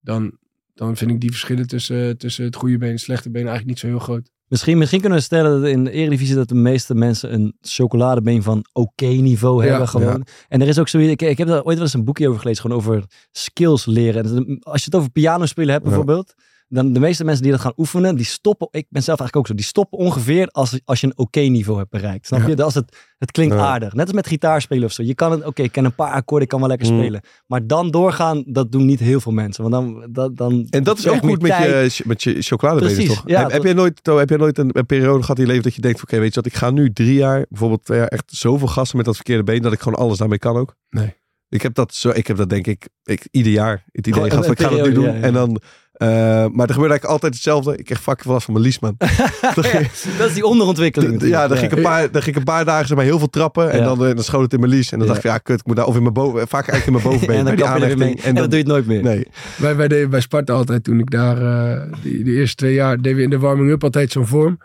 Dan, dan vind ik die verschillen tussen, tussen het goede been en het slechte been eigenlijk niet zo heel groot. Misschien, misschien kunnen we stellen dat in de Eredivisie dat de meeste mensen een chocoladebeen van oké niveau Ja, hebben. Gewoon. En er is ook zoiets, ik, ik heb daar ooit wel eens een boekje over gelezen, gewoon over skills leren. En als je het over piano spelen hebt Ja. bijvoorbeeld, dan de meeste mensen die dat gaan oefenen, die stoppen, ik ben zelf eigenlijk ook zo, die stoppen ongeveer als, als je een oké niveau hebt bereikt. Snap Ja. je? Dat als het, het klinkt Ja. aardig. Net als met gitaarspelen of zo. Je kan het, oké, ik ken een paar akkoorden, ik kan wel lekker Mm. spelen. Maar dan doorgaan, dat doen niet heel veel mensen. Want dan, dat, dan En dat is krijg ook goed met meer tijd. je, ch- met je chocoladebenen, Precies, toch? ja, heb, heb dat- jij nooit, Toon, heb jij nooit een, een periode gehad in je leven dat je denkt, van, oké, weet je wat, ik ga nu drie jaar, bijvoorbeeld twee jaar, echt zoveel gasten met dat verkeerde been, dat ik gewoon alles daarmee kan ook? Nee. Ik heb dat, zo, ik heb dat denk ik, ik ieder jaar het idee Gewoon gehad van, een ik ga dat nu periode, doen. ja, ja. En dan, eh, maar er gebeurt eigenlijk altijd hetzelfde. Ik kreeg fucking vanaf van mijn liesman. Ja, dat is die onderontwikkeling. Ja, dan natuurlijk. ging, ik een paar, dan ging ik een paar dagen zeg maar, heel veel trappen. En Ja. dan, eh, dan schoot het in mijn lies. En dan Ja. dacht ik, ja, kut, ik moet daar of in mijn boven, eh, vaak eigenlijk in mijn bovenbeen. en bij die dan klap je er weer mee. aanhechting. En, dan doe je het nooit meer. Nee. Wij, wij deden bij Sparta altijd, toen ik daar eh, die, de eerste twee jaar, deden we in de warming-up altijd zo'n vorm.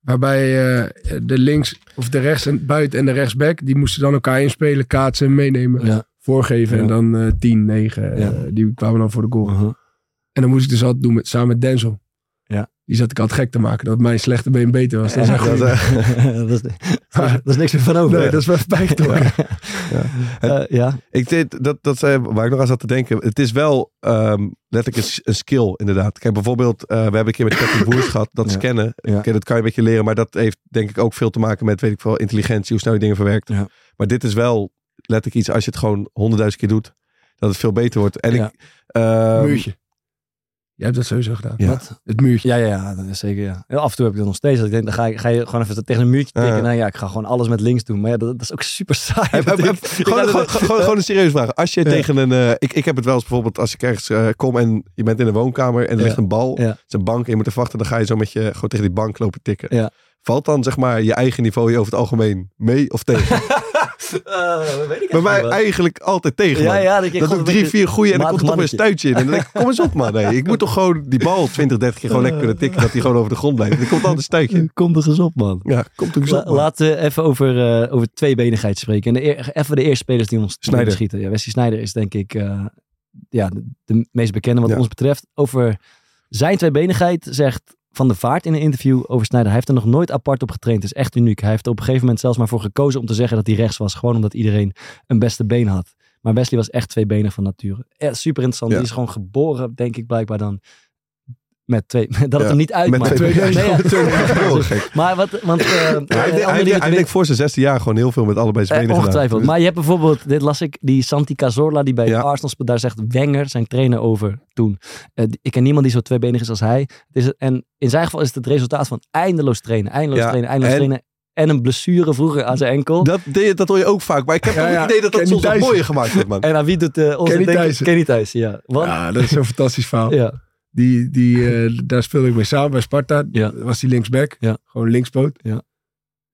Waarbij eh, de links of de rechts en buiten en de rechtsback, die moesten dan elkaar inspelen, kaatsen en meenemen. Ja. Voorgeven en Ja. dan eh 10, 9. Ja. eh, die kwamen dan voor de goal. Uh-huh. En dan moest ik dus altijd doen met, samen met Denzel. Ja. Die zat ik altijd gek te maken dat mijn slechte been beter was. Dat is Ja, echt Dat, goed. eh, dat, is, dat is niks meer van over. Nee, dat is wel bijgetrokken. Eh, ja. Ik deed, dat, dat zei, waar ik nog aan zat te denken. Het is wel ehm, letterlijk een, s- een skill, inderdaad. Kijk, bijvoorbeeld, eh, we hebben een keer met Captain Boers gehad. Dat Ja. scannen. Ja. Oké, dat kan je een beetje leren. Maar dat heeft denk ik ook veel te maken met, weet ik veel, intelligentie. Hoe snel je dingen verwerkt. Ja. Maar dit is wel letterlijk iets, als je het gewoon honderdduizend keer doet. Dat het veel beter wordt. En Ja. ik... ehm, muurtje. Jij hebt dat sowieso gedaan. Ja. Wat? Het muurtje. Ja, ja, ja, dat is zeker. Ja. En Af en toe heb ik dat nog steeds. Dat ik denk, dan ga, ik, ga je gewoon even tegen een muurtje tikken. Ja. Nou ja, ik ga gewoon alles met links doen. Maar ja, dat, dat is ook super saai. Heb- heb- Dat ik- heb- ik Gewoon had- gewoon- gewoon- gewoon een serieuze vraag. Als je Ja. tegen een... eh, ik, ik heb het wel eens bijvoorbeeld als ik ergens eh, kom en je bent in een woonkamer en er Ja. ligt een bal. Ja. Het is een bank en je moet er wachten. Dan ga je zo met je gewoon tegen die bank lopen tikken. Ja. Valt dan zeg maar je eigen niveau je over het algemeen mee of tegen? Eh, dat weet ik Bij mij eigenlijk eigenlijk altijd tegen. wel. ja, man. ja, dat je Dan doe ik gewoon drie, een beetje- vier goede en dan matig komt er toch weer een mannetje. stuitje in. En dan denk ik, kom eens op man. Nee, ik moet toch gewoon die bal 20, 30 keer gewoon lekker kunnen tikken. Dat die gewoon over de grond blijft. Er komt altijd een stuitje in. Kom er eens op, man. Ja, komt toch eens La- op man. Laten we even over, eh over tweebenigheid spreken. En de eer- even de eerste spelers die ons Sneijder. schieten. Ja, Wesley Sneijder is denk ik eh, ja, de, de meest bekende wat Ja. ons betreft. Over zijn tweebenigheid zegt Van de Vaart in een interview over Sneijder. Hij heeft er nog nooit apart op getraind. Het is echt uniek. Hij heeft er op een gegeven moment zelfs maar voor gekozen om te zeggen dat hij rechts was. Gewoon omdat iedereen een beste been had. Maar Wesley was echt tweebenig van nature. Eh, super interessant. Ja. Die is gewoon geboren, denk ik blijkbaar dan. Met twee, dat het Ja. hem niet Met uitmaakt. twee benen. Nee, ja. Heel gek. Maar wat, want eh, Ja, hij eh, heeft, hij heeft- andere dingen hij te heeft denk ik voor zijn 16 jaar gewoon heel veel met allebei zijn eh, benen gedaan. Dus ongetwijfeld. Maar je hebt bijvoorbeeld, dit las ik, die Santi Cazorla die bij Ja. Arsenal speelt. Daar zegt Wenger, zijn trainer, over toen. Eh, die- ik ken niemand die zo tweebenig is als hij. Het is, en in zijn geval is het het resultaat van eindeloos trainen, eindeloos Ja, trainen, eindeloos en- trainen. En een blessure vroeger aan zijn enkel. Dat, deed- dat hoor je ook vaak. Maar ik heb Ja, ook ja. het idee dat dat Kenny soms wat Thijssen. mooier gemaakt wordt, man. en aan wie doet eh onze Kenny denken- Thijssen. Kenny Thijssen, ja. Want, ja. Ja, dat is een fantastisch verhaal. Die, die, eh, daar speelde ik mee samen bij Sparta. Ja. Was die linksback. Ja. Gewoon linkspoot. Ja.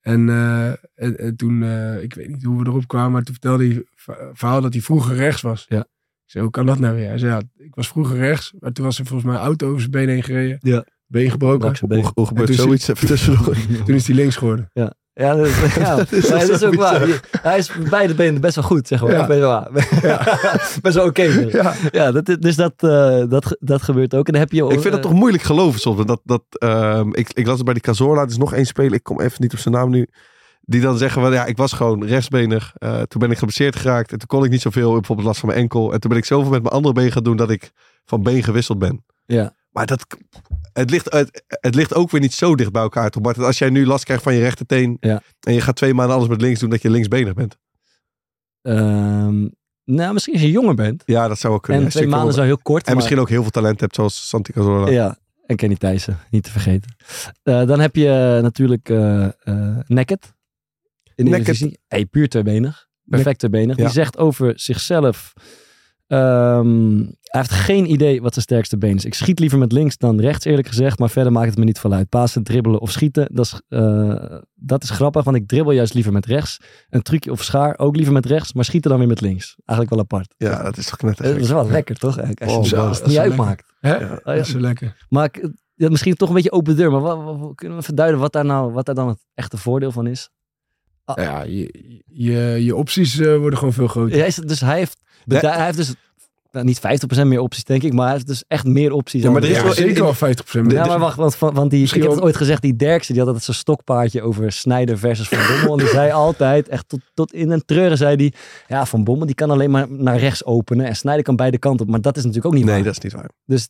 En, eh, en, en toen, eh, ik weet niet hoe we erop kwamen, maar toen vertelde hij v- verhaal dat hij vroeger rechts was. Ja. Ik zei, hoe kan dat nou weer? Hij zei, ja, ik was vroeger rechts, maar toen was er volgens mij een auto over zijn been heen gereden. Ja. Been gebroken. Brak zijn been. Hoe, hoe gebeurt En toen zoiets even tussendoor? Toen is hij links geworden. Ja, dat is, ja. Dat is Ja, toch dat is zo ook bizar. waar. Die- Hij is bij beide benen best wel goed, zeg maar. Ja. Ja. Best wel, waar. best wel oké. ja, dat, is- dus dat, eh, dat, ge- dat gebeurt ook. En dan heb je, eh, Ik vind dat toch moeilijk geloven soms. want Dat, dat, ehm, ik, ik las het bij die Cazorla. Er is nog één speler. Ik kom even niet op zijn naam nu. Die dan zeggen, van, ja, ik was gewoon rechtsbenig. Eh, toen ben ik geblesseerd geraakt. En toen kon ik niet zoveel. Bijvoorbeeld last van mijn enkel. En toen ben ik zoveel met mijn andere been gaan doen dat ik van been gewisseld ben. Ja. Maar dat, het, ligt, het, het ligt ook weer niet zo dicht bij elkaar. Toch, Bart? Als jij nu last krijgt van je rechterteen. Ja. En je gaat twee maanden alles met links doen dat je linksbenig bent. Ehm, nou, misschien als je jonger bent. Ja, dat zou ook kunnen. en Een twee stuk maanden is wel- wel heel kort. En maar- misschien ook heel veel talent hebt, zoals Santi Cazorla. Ja, en Kenny Thijssen, niet te vergeten. Eh, dan heb je eh, natuurlijk eh eh Naked. In de Naked. Eredivisie. Hey, puur tweebenig. perfecte benig. Die Ja. zegt over zichzelf. ehm, hij heeft geen idee wat zijn sterkste been is. Ik schiet liever met links dan rechts, eerlijk gezegd. Maar verder maakt het me niet veel uit. Pasen, dribbelen of schieten. Dat is, eh, dat is grappig, want ik dribbel juist liever met rechts. Een trucje of schaar ook liever met rechts. Maar schieten dan weer met links. Eigenlijk wel apart. Ja, dat is toch net Dat is wel lekker, toch? Eigenlijk, Als je Oh, het- zo, als het dat is niet wel uitmaakt. Oh, Hè? ja. Dat is zo lekker. Maar ik- ja, misschien toch een beetje open deur. Maar wat, kunnen we verduiden wat daar nou wat daar dan het echte voordeel van is? Nou Ja, je, je, je opties eh, worden gewoon veel groter. Ja, is het- dus hij heeft, beda- hij heeft dus nou, niet 50% meer opties, denk ik. Maar hij heeft dus echt meer opties. Ja, dan maar er is de- Ja, wel- zeker wel 50% meer. Ja, maar wacht, want, van- want die, ik Misschien heb het wel- ooit gezegd, die Derksen, die had altijd zo'n stokpaardje over Snijder versus Van Bommel. en die zei altijd, echt tot, tot in een treuren zei die, ja, Van Bommel die kan alleen maar naar rechts openen en Snijder kan beide kanten op. Maar dat is natuurlijk ook niet Nee, waar. dat is niet waar. Dus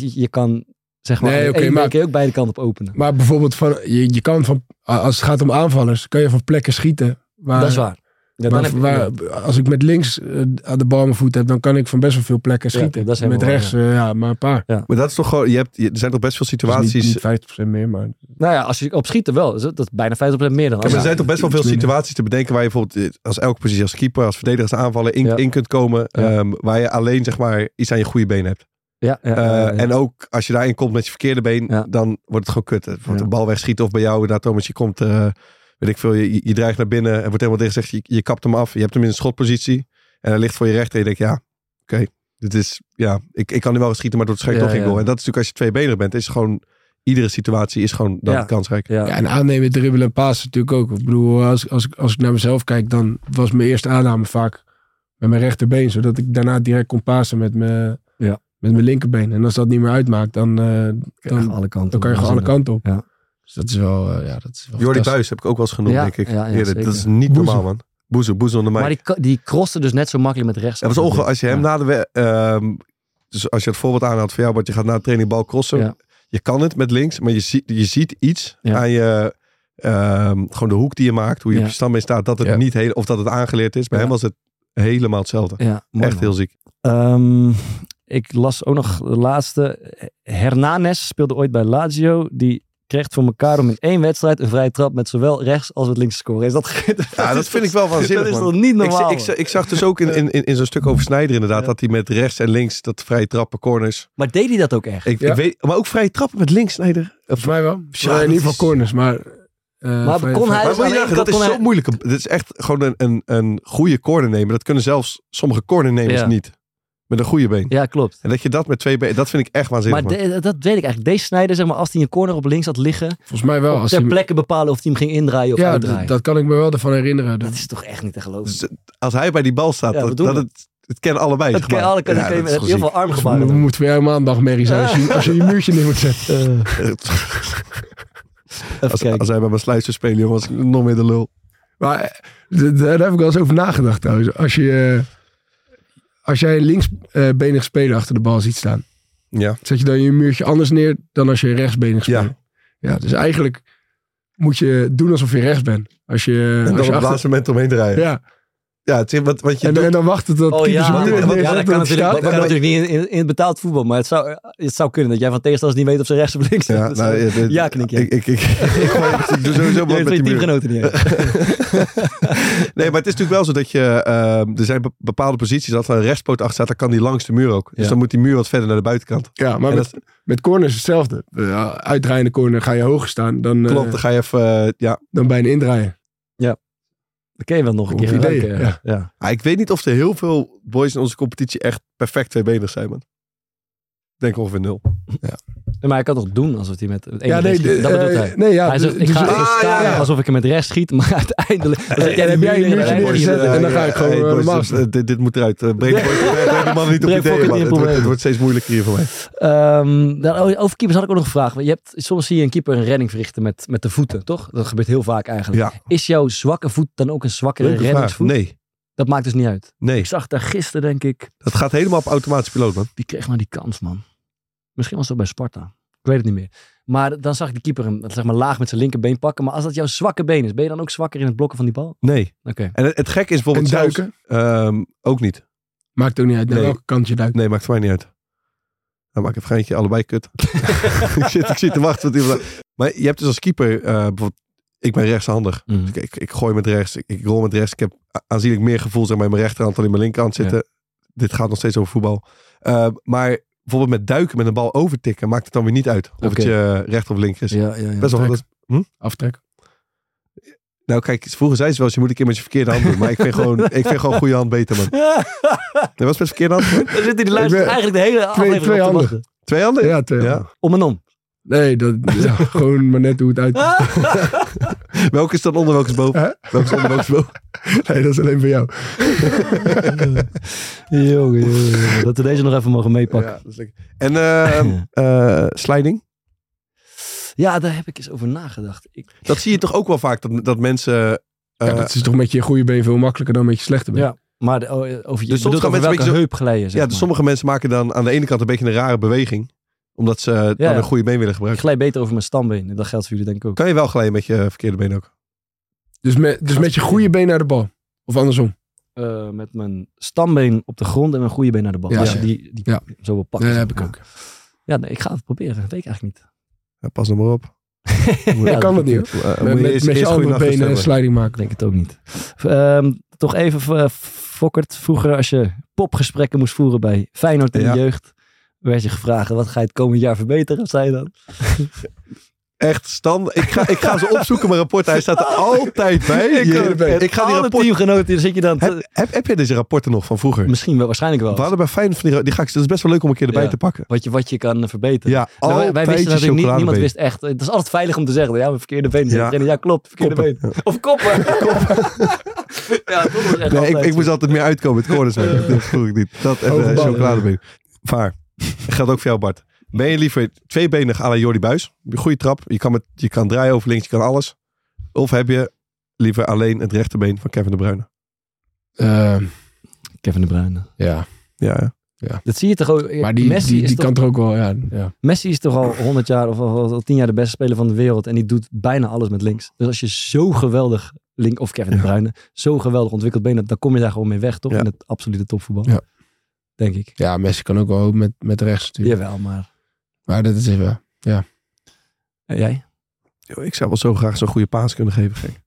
je- je kan, zeg maar, Nee, in oké, één maar- keer ook beide kanten op openen. Maar bijvoorbeeld, van, je, je kan van, als het gaat om aanvallers, kan je van plekken schieten. Waar, dat is waar. Ja, maar dan heb je- waar- als ik met links eh, aan de bal mijn voet heb, dan kan ik van best wel veel plekken Ja, schieten. dat is met helemaal waar, rechts, eh, ja. maar een paar. Maar dat is toch gewoon, je hebt, je- er zijn toch best veel Dus niet- situaties. niet 50% meer, maar... Nou ja, als je op schieten wel. is het- Dat is bijna 50% meer dan. Ja, maar er als- zijn toch best wel veel iets minder. situaties te bedenken waar je bijvoorbeeld eh, als elke positie, als keeper, als verdediger, als aanvaller in, Ja. in kunt komen. Ja. ehm, waar je alleen zeg maar iets aan je goede been hebt. Ja, ja, Eh, ja, ja. En ook als je daarin komt met je verkeerde been, Ja. dan wordt het gewoon kut. Het wordt Ja. een bal wegschieten of bij jou inderdaad, Thomas, je komt, eh, weet ik veel, je, je- je dreigt naar binnen. Er wordt helemaal dicht gezegd, je, je kapt hem af. Je hebt hem in een schotpositie en hij ligt voor je rechter. En je denkt, ja, oké, dit is, ja, ik, ik kan nu wel schieten, maar dat is waarschijnlijk Ja, toch geen ja. goal. En dat is natuurlijk als je tweebenig bent, is gewoon, iedere situatie is gewoon dan Ja. kansrijk. ja. Ja, en aannemen, dribbelen en pasen natuurlijk ook. Ik bedoel, als, als, ik- als ik naar mezelf kijk, dan was mijn eerste aanname vaak met mijn rechterbeen. Zodat ik daarna direct kon pasen met mijn, Ja. met mijn linkerbeen. En als dat niet meer uitmaakt, dan, eh, Echt dan, alle kanten. dan kan je gewoon alle kanten op. Ja. Dus dat is wel, eh, ja, dat is wel Jordi fantastisch. Buis heb ik ook wel eens genoemd, Ja, denk ik. ja, ja, Eerder. zeker. dat is niet Boezel. normaal, man. Boezel, boezel onder mij. Maar die, ka- die crossen dus net zo makkelijk met rechts. dat was onge- als je hem Ja. na de... we- ehm, dus als je het voorbeeld aanhoudt van jou, want je gaat na een training bal crossen. Ja. Je kan het met links, maar je, ziet je ziet iets Ja. aan je... ehm, gewoon de hoek die je maakt, hoe je Ja. op je standbeen staat. Dat het Ja. niet heel, of dat het aangeleerd is. Bij Ja. hem was het helemaal hetzelfde. Ja, mooi Echt man. heel ziek. Ehm, ik las ook nog de laatste. Hernanes speelde ooit bij Lazio. Die kreeg het voor elkaar om in één wedstrijd een vrije trap met zowel rechts als het links te scoren. Is dat, Ja, dat vind ik wel Dat waanzinnig, is man. toch niet Ik, normaal? ik, ik zag dus ook in, in, in, in zo'n stuk over Snijder inderdaad, Ja. dat hij met rechts en links, dat vrije trappen, corners. Maar deed hij dat ook echt? Ik, Ja. ik weet, maar ook vrije trappen met links, Snijder. Volgens mij wel. Ja, Maar in dat ieder geval is- corners, maar... eh, Maar vrij- kon hij- Maar moet vrij- je Aan de nagaan, ene dat kant is kon zo hij- moeilijk. Dit is echt gewoon een, een, een goede corner nemen. Dat kunnen zelfs sommige cornernemers Ja. niet. Met een goede been. Ja, klopt. En dat je dat met twee benen, dat vind ik echt waanzinnig. Maar man. de- dat weet ik eigenlijk. Deze snijder, zeg maar, als hij een corner op links had liggen, Volgens mij wel. Als ter hij- plekke bepalen of hij hem ging indraaien of ja, uitdraaien. dat, dat kan ik me wel ervan herinneren. Dat is toch echt niet te geloven. Dus Als hij bij die bal staat, Ja, dat, wat doen dat we? het, het kennen allebei. dat zeg kan maar. alle kanten. Ja, Ja, dat is met heel gewoon veel armgebaren. Dan moet weer een maandagmerrie zijn als je, als je je muurtje neer moet zetten. ziek. Even Als, Eh, kijken. als hij bij mijn sluis zou spelen, jongens, ik nog meer de lul. Maar eh, d- d- daar heb ik wel eens over nagedacht trouwens. Als, je, eh, als jij een linksbenig speler achter de bal ziet staan, Ja, zet je dan je muurtje anders neer dan als je een rechtsbenig Ja. speler. Ja. dus eigenlijk moet je doen alsof je rechts bent. Als je, en als dan op je het achter, laatste moment omheen draaien. Ja, ja. het is, wat, wat je en, doet, en dan wachten tot Oh keeper ja, zijn maar- muur wat- ja, wat- neerzet dat en kan het natuurlijk, dat staat. kan dan- natuurlijk niet in, in, in het betaald voetbal. Maar het zou, het zou kunnen dat jij van tegenstanders niet weet of ze rechts of links Ja, zitten. nou, ja, dit- Ja, knik, ja. Ik, ik, ik, ik, gooi- ik doe sowieso Je wat weet met van die je muur. teamgenoten niet. eens. Nee, maar het is natuurlijk wel zo dat je... ehm, er zijn be- bepaalde posities, dat er een rechtspoot achter staat, dan kan die langs de muur ook. Dus Ja. dan moet die muur wat verder naar de buitenkant. Ja, maar En met, met corners is hetzelfde. Eh, Uitdraaiende corner ga je hoger staan dan, eh, Klopt, dan ga je even... eh, ja. dan bij een indraaien. Dat ken je wel nog een Goed keer. idee, gebruiken, ja. ja. Ah, ik weet niet of er heel veel boys in onze competitie echt perfect tweebenig zijn, man. Ik denk ongeveer nul. Maar hij kan toch doen alsof hij met het ene Ja, nee, rechts schiet? dat eh, bedoelt hij. nee, ja. hij zegt, dus- ik dus- ga ah, even staan ja, ja. alsof ik hem met rechts schiet, maar uiteindelijk... Dan zet jij en die heb jij een muur neer muurtje en hij Boys, schiet neergezet? hem. eh, en dan ga ik eh, gewoon, hey, eh, boys, normaal dit- eh, dit, dit moet eruit. Eh, Breek boys, eh, breek de man niet op Breek ideeën, fucking man. Het niet op wordt, het ideeën. wordt steeds moeilijker hier voor mij. Ehm, daar- over keepers had ik ook nog een vraag. Je hebt, soms zie je een keeper een redding verrichten met, met de voeten, toch? Dat gebeurt heel vaak eigenlijk. Ja. Is jouw zwakke voet dan ook een zwakkere Leuke vraag. reddingsvoet? Nee, Dat maakt dus niet uit. nee. Ik zag daar gisteren, denk ik, Dat gaat helemaal op automatische piloot, man. die kreeg maar die kans, man. Misschien was dat bij Sparta. Ik weet het niet meer. Maar dan zag ik de keeper hem zeg maar, laag met zijn linkerbeen pakken. Maar als dat jouw zwakke been is, ben je dan ook zwakker in het blokken van die bal? Nee. Oké. En het, het gekke is En bijvoorbeeld zelfs, duiken. ehm, ook niet. Maakt ook niet uit naar Nee. welke kant je duikt. Nee, maakt voor mij niet uit. Dan maak ik een geintje, allebei kut. ik, zit, ik zit te wachten. Tot iemand... Maar je hebt dus als keeper eh, bijvoorbeeld ik ben rechtshandig. Mhm. Dus ik, ik, ik gooi met rechts, ik, ik rol met rechts. Ik heb a- aanzienlijk meer gevoel zeg maar, in mijn rechterhand dan in mijn linkerhand zitten. Dit gaat nog steeds over voetbal. Eh, maar bijvoorbeeld met duiken, met een bal overtikken, maakt het dan weer niet uit of het Oké. je rechter of linker is. Ja, ja, ja. Best wel, Trek. dat, Aftrek. nou kijk, vroeger zei ze wel eens, je moet een keer met je verkeerde hand doen. Maar ik vind gewoon, ik vind gewoon goede hand beter, man. Dat was met verkeerde hand? Daar zit in die Ik luister ben- eigenlijk de hele aflevering twee op te handen. wachten. Twee handen? Ja, twee. Ja. handen. Om en om. Nee, dat, ja, gewoon maar net hoe het uitkomt. Welke is dan onder, welke is boven? Welke is onder, welke is boven? Nee, dat is alleen voor jou. Jongen, jongen, jongen. dat we deze nog even mogen meepakken. Ja, dat is lekker. En eh, eh, sliding? Ja. daar heb ik eens over nagedacht. Ik, Dat zie je toch ook wel vaak, dat, dat mensen... eh, Ja, dat is toch met je goede been veel makkelijker dan met je slechte been. Ja. maar de- oh, eh, over je Dus soms bedoelt gaan over mensen welke een beetje zo- heup glijden, zeg ja, dus maar. sommige mensen maken dan aan de ene kant een beetje een rare beweging. Omdat ze eh, dan ja. een goede been willen Ik gebruiken. glij beter over mijn stambeen. En Dat geldt voor jullie denk ik ook. Kan je wel glijden met je verkeerde been ook? Dus, met, dus met je goede been naar de bal. Of andersom. Eh, met mijn stambeen op de grond en mijn goede been naar de bal. Ja, Als je ja. die, die Ja. zo wil Nee, dat pakken. zeg heb ik maar. ook. Ja, nee, ik ga het proberen. Dat weet ik eigenlijk niet. Ja, pas nog maar op. Ja, ik kan dat dat- niet. hoor. Eh, moet je Met, met, eerst- met je eerst andere goeienacht benen een bestellen. sliding Ik maken. denk het ook niet. Ehm, toch even, eh, Fokkert, vroeger als je popgesprekken moest voeren bij Feyenoord in Ja. de jeugd, werd je gevraagd, wat ga je het komend jaar verbeteren? Wat zei je dan? Echt stand. Ik ga, ik ga ze opzoeken, mijn rapport. Hij staat er altijd bij. Ik Je- ook. en ik ga die Alle rapporten... teamgenoten, dan zit je dan... te- Heb, heb, heb jij deze rapporten nog van vroeger? misschien wel, waarschijnlijk wel. We hadden bij Feyenoord van die... die ga ik, dat is best wel leuk om een keer erbij Ja. te pakken. Wat je, wat je kan eh, verbeteren. Ja, Nou, wij, wij wisten altijd natuurlijk niet, niemand chocoladebeet. wist echt. Het is altijd veilig om te zeggen, ja, mijn verkeerde been. Ja. Ja, ja klopt, verkeerde been. Of koppen. ja, dat was echt Nee, ik, altijd ik zo. moest altijd meer uitkomen met corners. maken. Dat vroeg ik niet. Dat en eh, Overbal. chocoladebeen. Vaar. Geldt ook voor jou, Bart. Ben je liever tweebenig à la Jordi Buis? Goede trap. Je kan, met, je kan draaien over links, je kan alles. Of heb je liever alleen het rechterbeen van Kevin de Bruyne? Eh, Kevin de Bruyne. ja, Ja, ja. Dat zie je toch ook. maar die, Messi die, is die toch kan er ook wel. Ja, ja. Messi is toch al 100 jaar of al, al 10 jaar de beste speler van de wereld. En die doet bijna alles met links. Dus als je zo geweldig, link, of Kevin de Bruyne, zo geweldig ontwikkeld bent, dan kom je daar gewoon mee weg, toch? Ja. In het absolute topvoetbal. Ja. Denk ik. ja, Messi kan ook wel met, met rechts natuurlijk. Jawel, maar. Maar dat is even. En jij? Yo, ik zou wel zo graag zo'n goede paas kunnen geven, gek.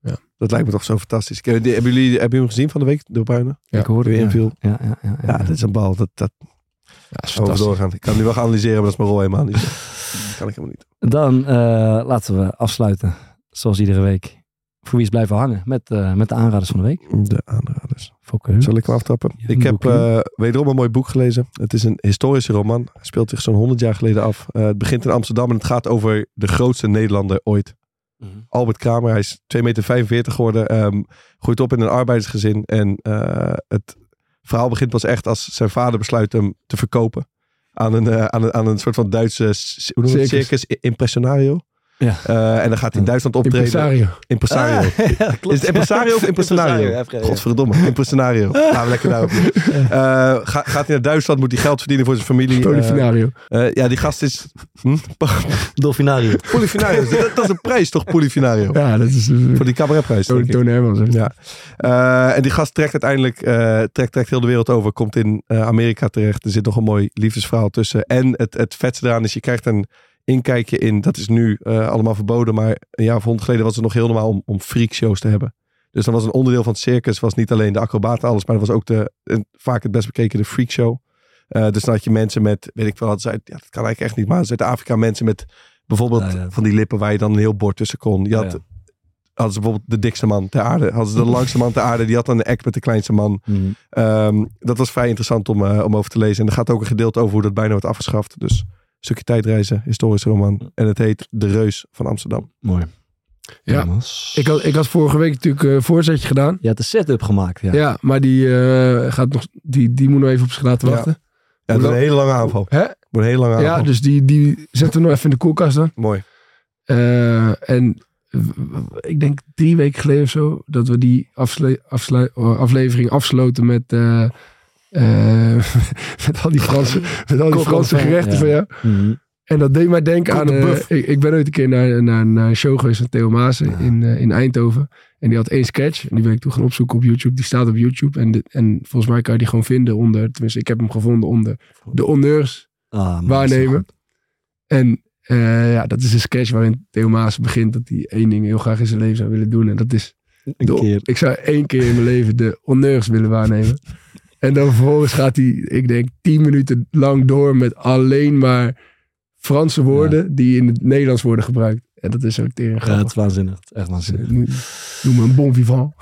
Ja. Dat lijkt me toch zo fantastisch. Ik- die- Hebben jullie, hebben jullie hem gezien van de week, de Bruyne? Ja. ik hoorde Toen hij ja. inviel. Ja, ja, ja, Ja, dit is een bal. Dat, dat Ja, is over fantastisch. doorgaan. Ik kan hem nu wel gaan analyseren, maar dat is mijn rol helemaal niet. Dat kan ik helemaal niet. Dan eh, laten we afsluiten, zoals iedere week. Voor wie is blijven hangen met, eh, met de aanraders van de week. De aanraders. Fokker. Zal ik hem aftrappen? Ja, ik een heb eh, boekje. wederom een mooi boek gelezen. Het is een historische roman. Hij speelt zich zo'n 100 jaar geleden af. Eh, het begint in Amsterdam en het gaat over de grootste Nederlander ooit. Mhm. Albert Kramer, hij is 2,45 meter geworden. ehm, groeit op in een arbeidersgezin. En eh, het verhaal begint pas echt als zijn vader besluit hem te verkopen. Aan een, eh, aan een, aan een soort van Duitse c- hoe noem je het? Circus. circus i- impressionario. Ja. Eh, en dan gaat hij in Duitsland optreden. Impresario. Impresario. Ah, klopt. Is het impresario of impresario? Impresario, FG, ja. Godverdomme, impresario. Laten we lekker daarop. doen. Eh, ga- gaat hij naar Duitsland, moet hij geld verdienen voor zijn familie. Eh, Polifinario. eh, ja, die gast is... Hm? Dolfinario. Polifinario, dat, dat is een prijs toch, Polifinario? ja, dat is eh, Voor die cabaretprijs, denk Toon ik. Toon Hermans. hè. Ja. Eh, en die gast trekt uiteindelijk eh, trekt, trekt heel de wereld over. Komt in eh, Amerika terecht. Er zit nog een mooi liefdesverhaal tussen. En het, het vetste eraan is, je krijgt een inkijkje in... Dat is nu eh, allemaal verboden, maar een jaar of honderd geleden was het nog heel normaal om, om freakshows te hebben. Dus dan was een onderdeel van het circus, was niet alleen de acrobaten alles, maar dat was ook de, een- vaak het best bekeken de freakshow. Eh dus dan had je mensen met, weet ik wel, dat, uit, ja, dat kan eigenlijk echt niet, maar Zuid-Afrika mensen met bijvoorbeeld Nou ja. van die lippen waar je dan een heel bord tussen kon. Je had Ja. hadden ze bijvoorbeeld de dikste man ter aarde. Hadden ze de langste man ter aarde. Die had dan een act met de kleinste man. Mhm. Ehm, dat was vrij interessant om, eh, om over te lezen. En er gaat ook een gedeelte over hoe dat bijna wordt afgeschaft. Dus een stukje tijdreizen, historische roman. En het heet De Reus van Amsterdam. Mooi. Ja. Jongens. Ik, had, ik had vorige week natuurlijk eh, een voorzetje gedaan. Je had de setup gemaakt, ja. Ja, maar die, eh, gaat nog, die, die moet nog even op zich laten Ja. wachten. Ja, het wordt Hoe lang- een hele lange aanval. Hè? Het wordt een hele lange Ja, aanval. dus die, die zetten we nog even in de koelkast dan. Mooi. Eh, en w- w- ik denk drie weken geleden of zo, dat we die afsle- afslu- eh, aflevering afsloten met, eh, eh, met al die Franse, met al die Kok Franse en ver, gerechten ja. van jou. Mhm. En dat deed mij denken Kok aan... de eh, Buff. ik, ik ben ooit een keer naar, naar, naar een show geweest van Theo Maassen in, eh, in Eindhoven. En die had één sketch. En die ben ik toen gaan opzoeken op YouTube. Die staat op YouTube. En, dit- en volgens mij kan je die gewoon vinden onder... Tenminste, ik heb hem gevonden onder de honneurs Ah, man, waarnemen. En Eh, ja, dat is een sketch waarin Theo Maas begint dat hij één ding heel graag in zijn leven zou willen doen. En dat is Een de- keer. Ik zou één keer in mijn leven de honneurs willen waarnemen. En dan vervolgens gaat hij, ik denk, tien minuten lang door met alleen maar Franse woorden die in het Nederlands worden gebruikt. En dat is ook tering Ja, het grappig. is waanzinnig. Het is Echt Dus, waanzinnig. eh, noem- Noem me een bon vivant.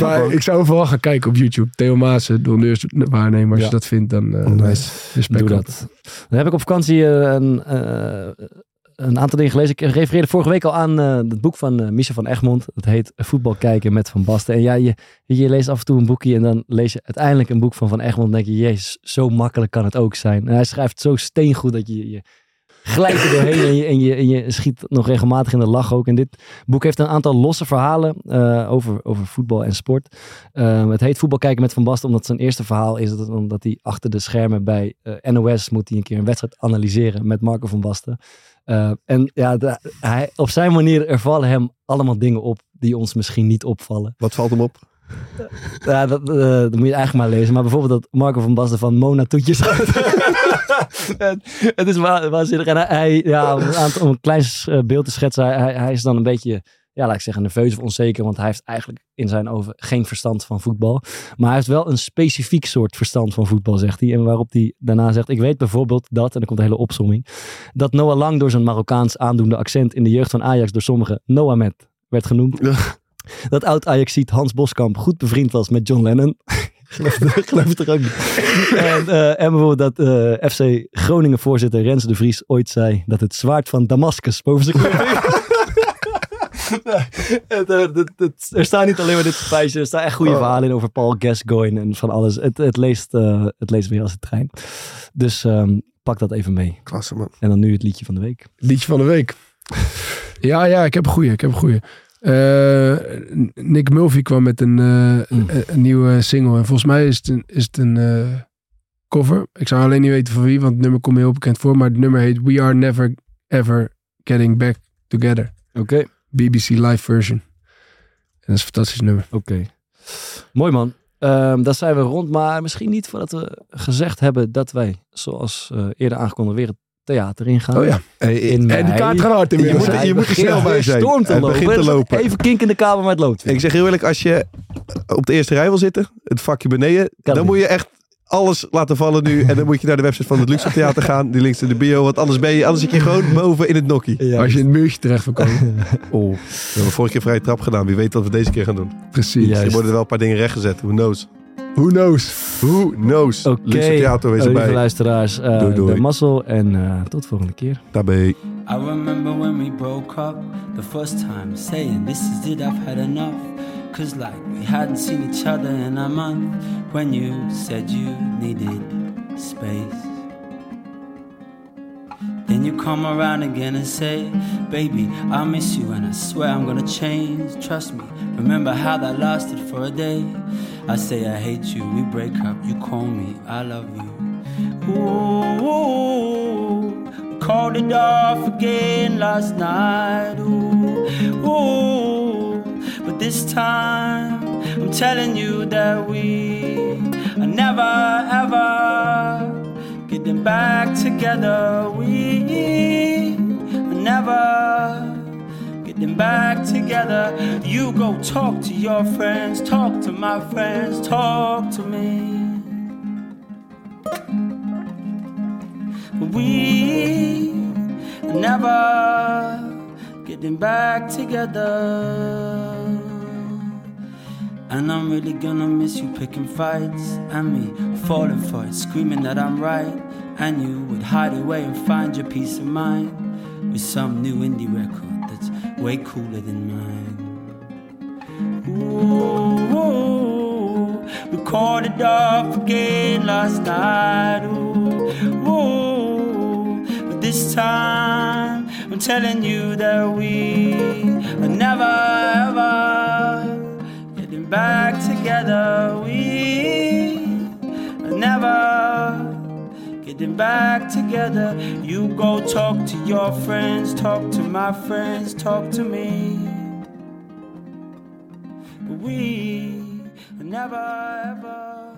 maar ik zou vooral gaan kijken op YouTube. Theo Maassen, de honneurs waarnemen. Als Ja. Oh, je dat vindt, dan eh, respect. Doe op. dat. Dan heb ik op vakantie eh, een, eh, een aantal dingen gelezen. Ik refereerde vorige week al aan eh, het boek van eh Michel van Egmond. Dat heet Voetbal kijken met Van Basten. En ja, je, je leest af en toe een boekje en dan lees je uiteindelijk een boek van Van Egmond. En denk je, jezus, zo makkelijk kan het ook zijn. En hij schrijft zo steengoed dat je... je glijdt er doorheen en je, en, je, en je schiet nog regelmatig in de lach ook. En dit boek heeft een aantal losse verhalen eh, over, over voetbal en sport. Ehm, het heet Voetbal kijken met Van Basten, omdat zijn eerste verhaal is dat, omdat hij achter de schermen bij eh, NOS moet hij een keer een wedstrijd analyseren met Marco van Basten. Eh, en ja, da- hij, op zijn manier er vallen hem allemaal dingen op die ons misschien niet opvallen. Wat valt hem op? Ja, dat, eh, dat moet je eigenlijk maar lezen. Maar bijvoorbeeld dat Marco van Basten van Mona toetjes had. En het is wa- waanzinnig. En hij, hij- ja, om, een aantal- om een klein eh, beeld te schetsen, hij- hij, hij is dan een beetje, ja, laat ik zeggen, nerveus of onzeker. Want hij heeft eigenlijk in zijn ogen geen verstand van voetbal. Maar hij heeft wel een specifiek soort verstand van voetbal, zegt hij. En waarop hij daarna zegt, ik weet bijvoorbeeld dat, en dan komt een hele opsomming, dat Noah Lang door zijn Marokkaans aandoende accent in de jeugd van Ajax door sommigen Noah Met werd genoemd. Dat oud Ajaxiet Hans Boskamp goed bevriend was met John Lennon. geloof, het- geloof het er ook niet. En, eh, en bijvoorbeeld dat eh, FC Groningen voorzitter Rens de Vries ooit zei dat het zwaard van Damascus boven zijn kop hing. Nou, het, eh, dit- dit- er staan niet alleen maar dit feitje, er staan echt goede verhalen in over Paul Gascoigne en van alles. Het, het, leest, eh, het leest weer als een trein. Dus ehm, pak dat even mee. Klasse man. En dan nu het liedje van de week. Liedje van de week. Ja, ja, ik heb een goeie. Ik heb een goeie. Eh, Nick Mulvey kwam met een, eh, een- een nieuwe single. En volgens mij is het een, is het een eh, cover. Ik zou alleen niet weten van wie, want het nummer komt me heel bekend voor. Maar het nummer heet We Are Never Ever Getting Back Together. Oké. BBC Live version. En dat is een fantastisch nummer. Oké. Mooi man. Ehm dan zijn we rond, maar misschien niet voordat we gezegd hebben dat wij, zoals eh, eerder aangekondigd, weer het theater ingaan. Oh ja. In En die mei. kaart gaat hard Je inmiddels. moet- hè? je moet er snel bij weer zijn. Storm te Hij lopen. begint te Dus lopen. Even kink in de kamer met lood. Ik zeg heel eerlijk, als je op de eerste rij wil zitten, het vakje beneden, dan niet. moet je echt alles laten vallen nu. En dan moet je naar de website van het Luxe Theater gaan. Die links in de bio, want anders ben je, anders zit je gewoon boven in het nokkie. We Ja, Als je in het muurtje terecht wil komen. Oh. We hebben vorige keer vrije trap gedaan. Wie weet wat we deze keer gaan doen. Precies. Ja. Er Juist. worden wel een paar dingen rechtgezet. Who knows? Who knows? Who knows? Oké, Luxe Theater, wees eh, lieve erbij. luisteraars, eh Doei, doei. de mazzel en eh, tot volgende keer. Daarbij. I remember when we broke up the first time, saying, This is it, I've had enough. Cause like we hadn't seen each other in a month when you said you needed space. Then you come around again and say, Baby, I miss you and I swear I'm gonna change. Trust me, remember how that lasted for a day. I say, I hate you, we break up, you call me, I love you. Ooh, we called it off again last night. Ooh, ooh, but this time I'm telling you that we are never ever getting back together. We are never getting back together. You go talk to your friends, talk to my friends, talk to me. We never getting back together. And I'm really gonna miss you picking fights and me falling for it, screaming that I'm right. And you would hide away and find your peace of mind with some new indie record that's way cooler than mine. Ooh, we called it off again last night. Ooh, ooh, but this time I'm telling you that we are never ever getting back together. We are never getting back together. You go talk to your friends, talk to my friends, talk to me. We never ever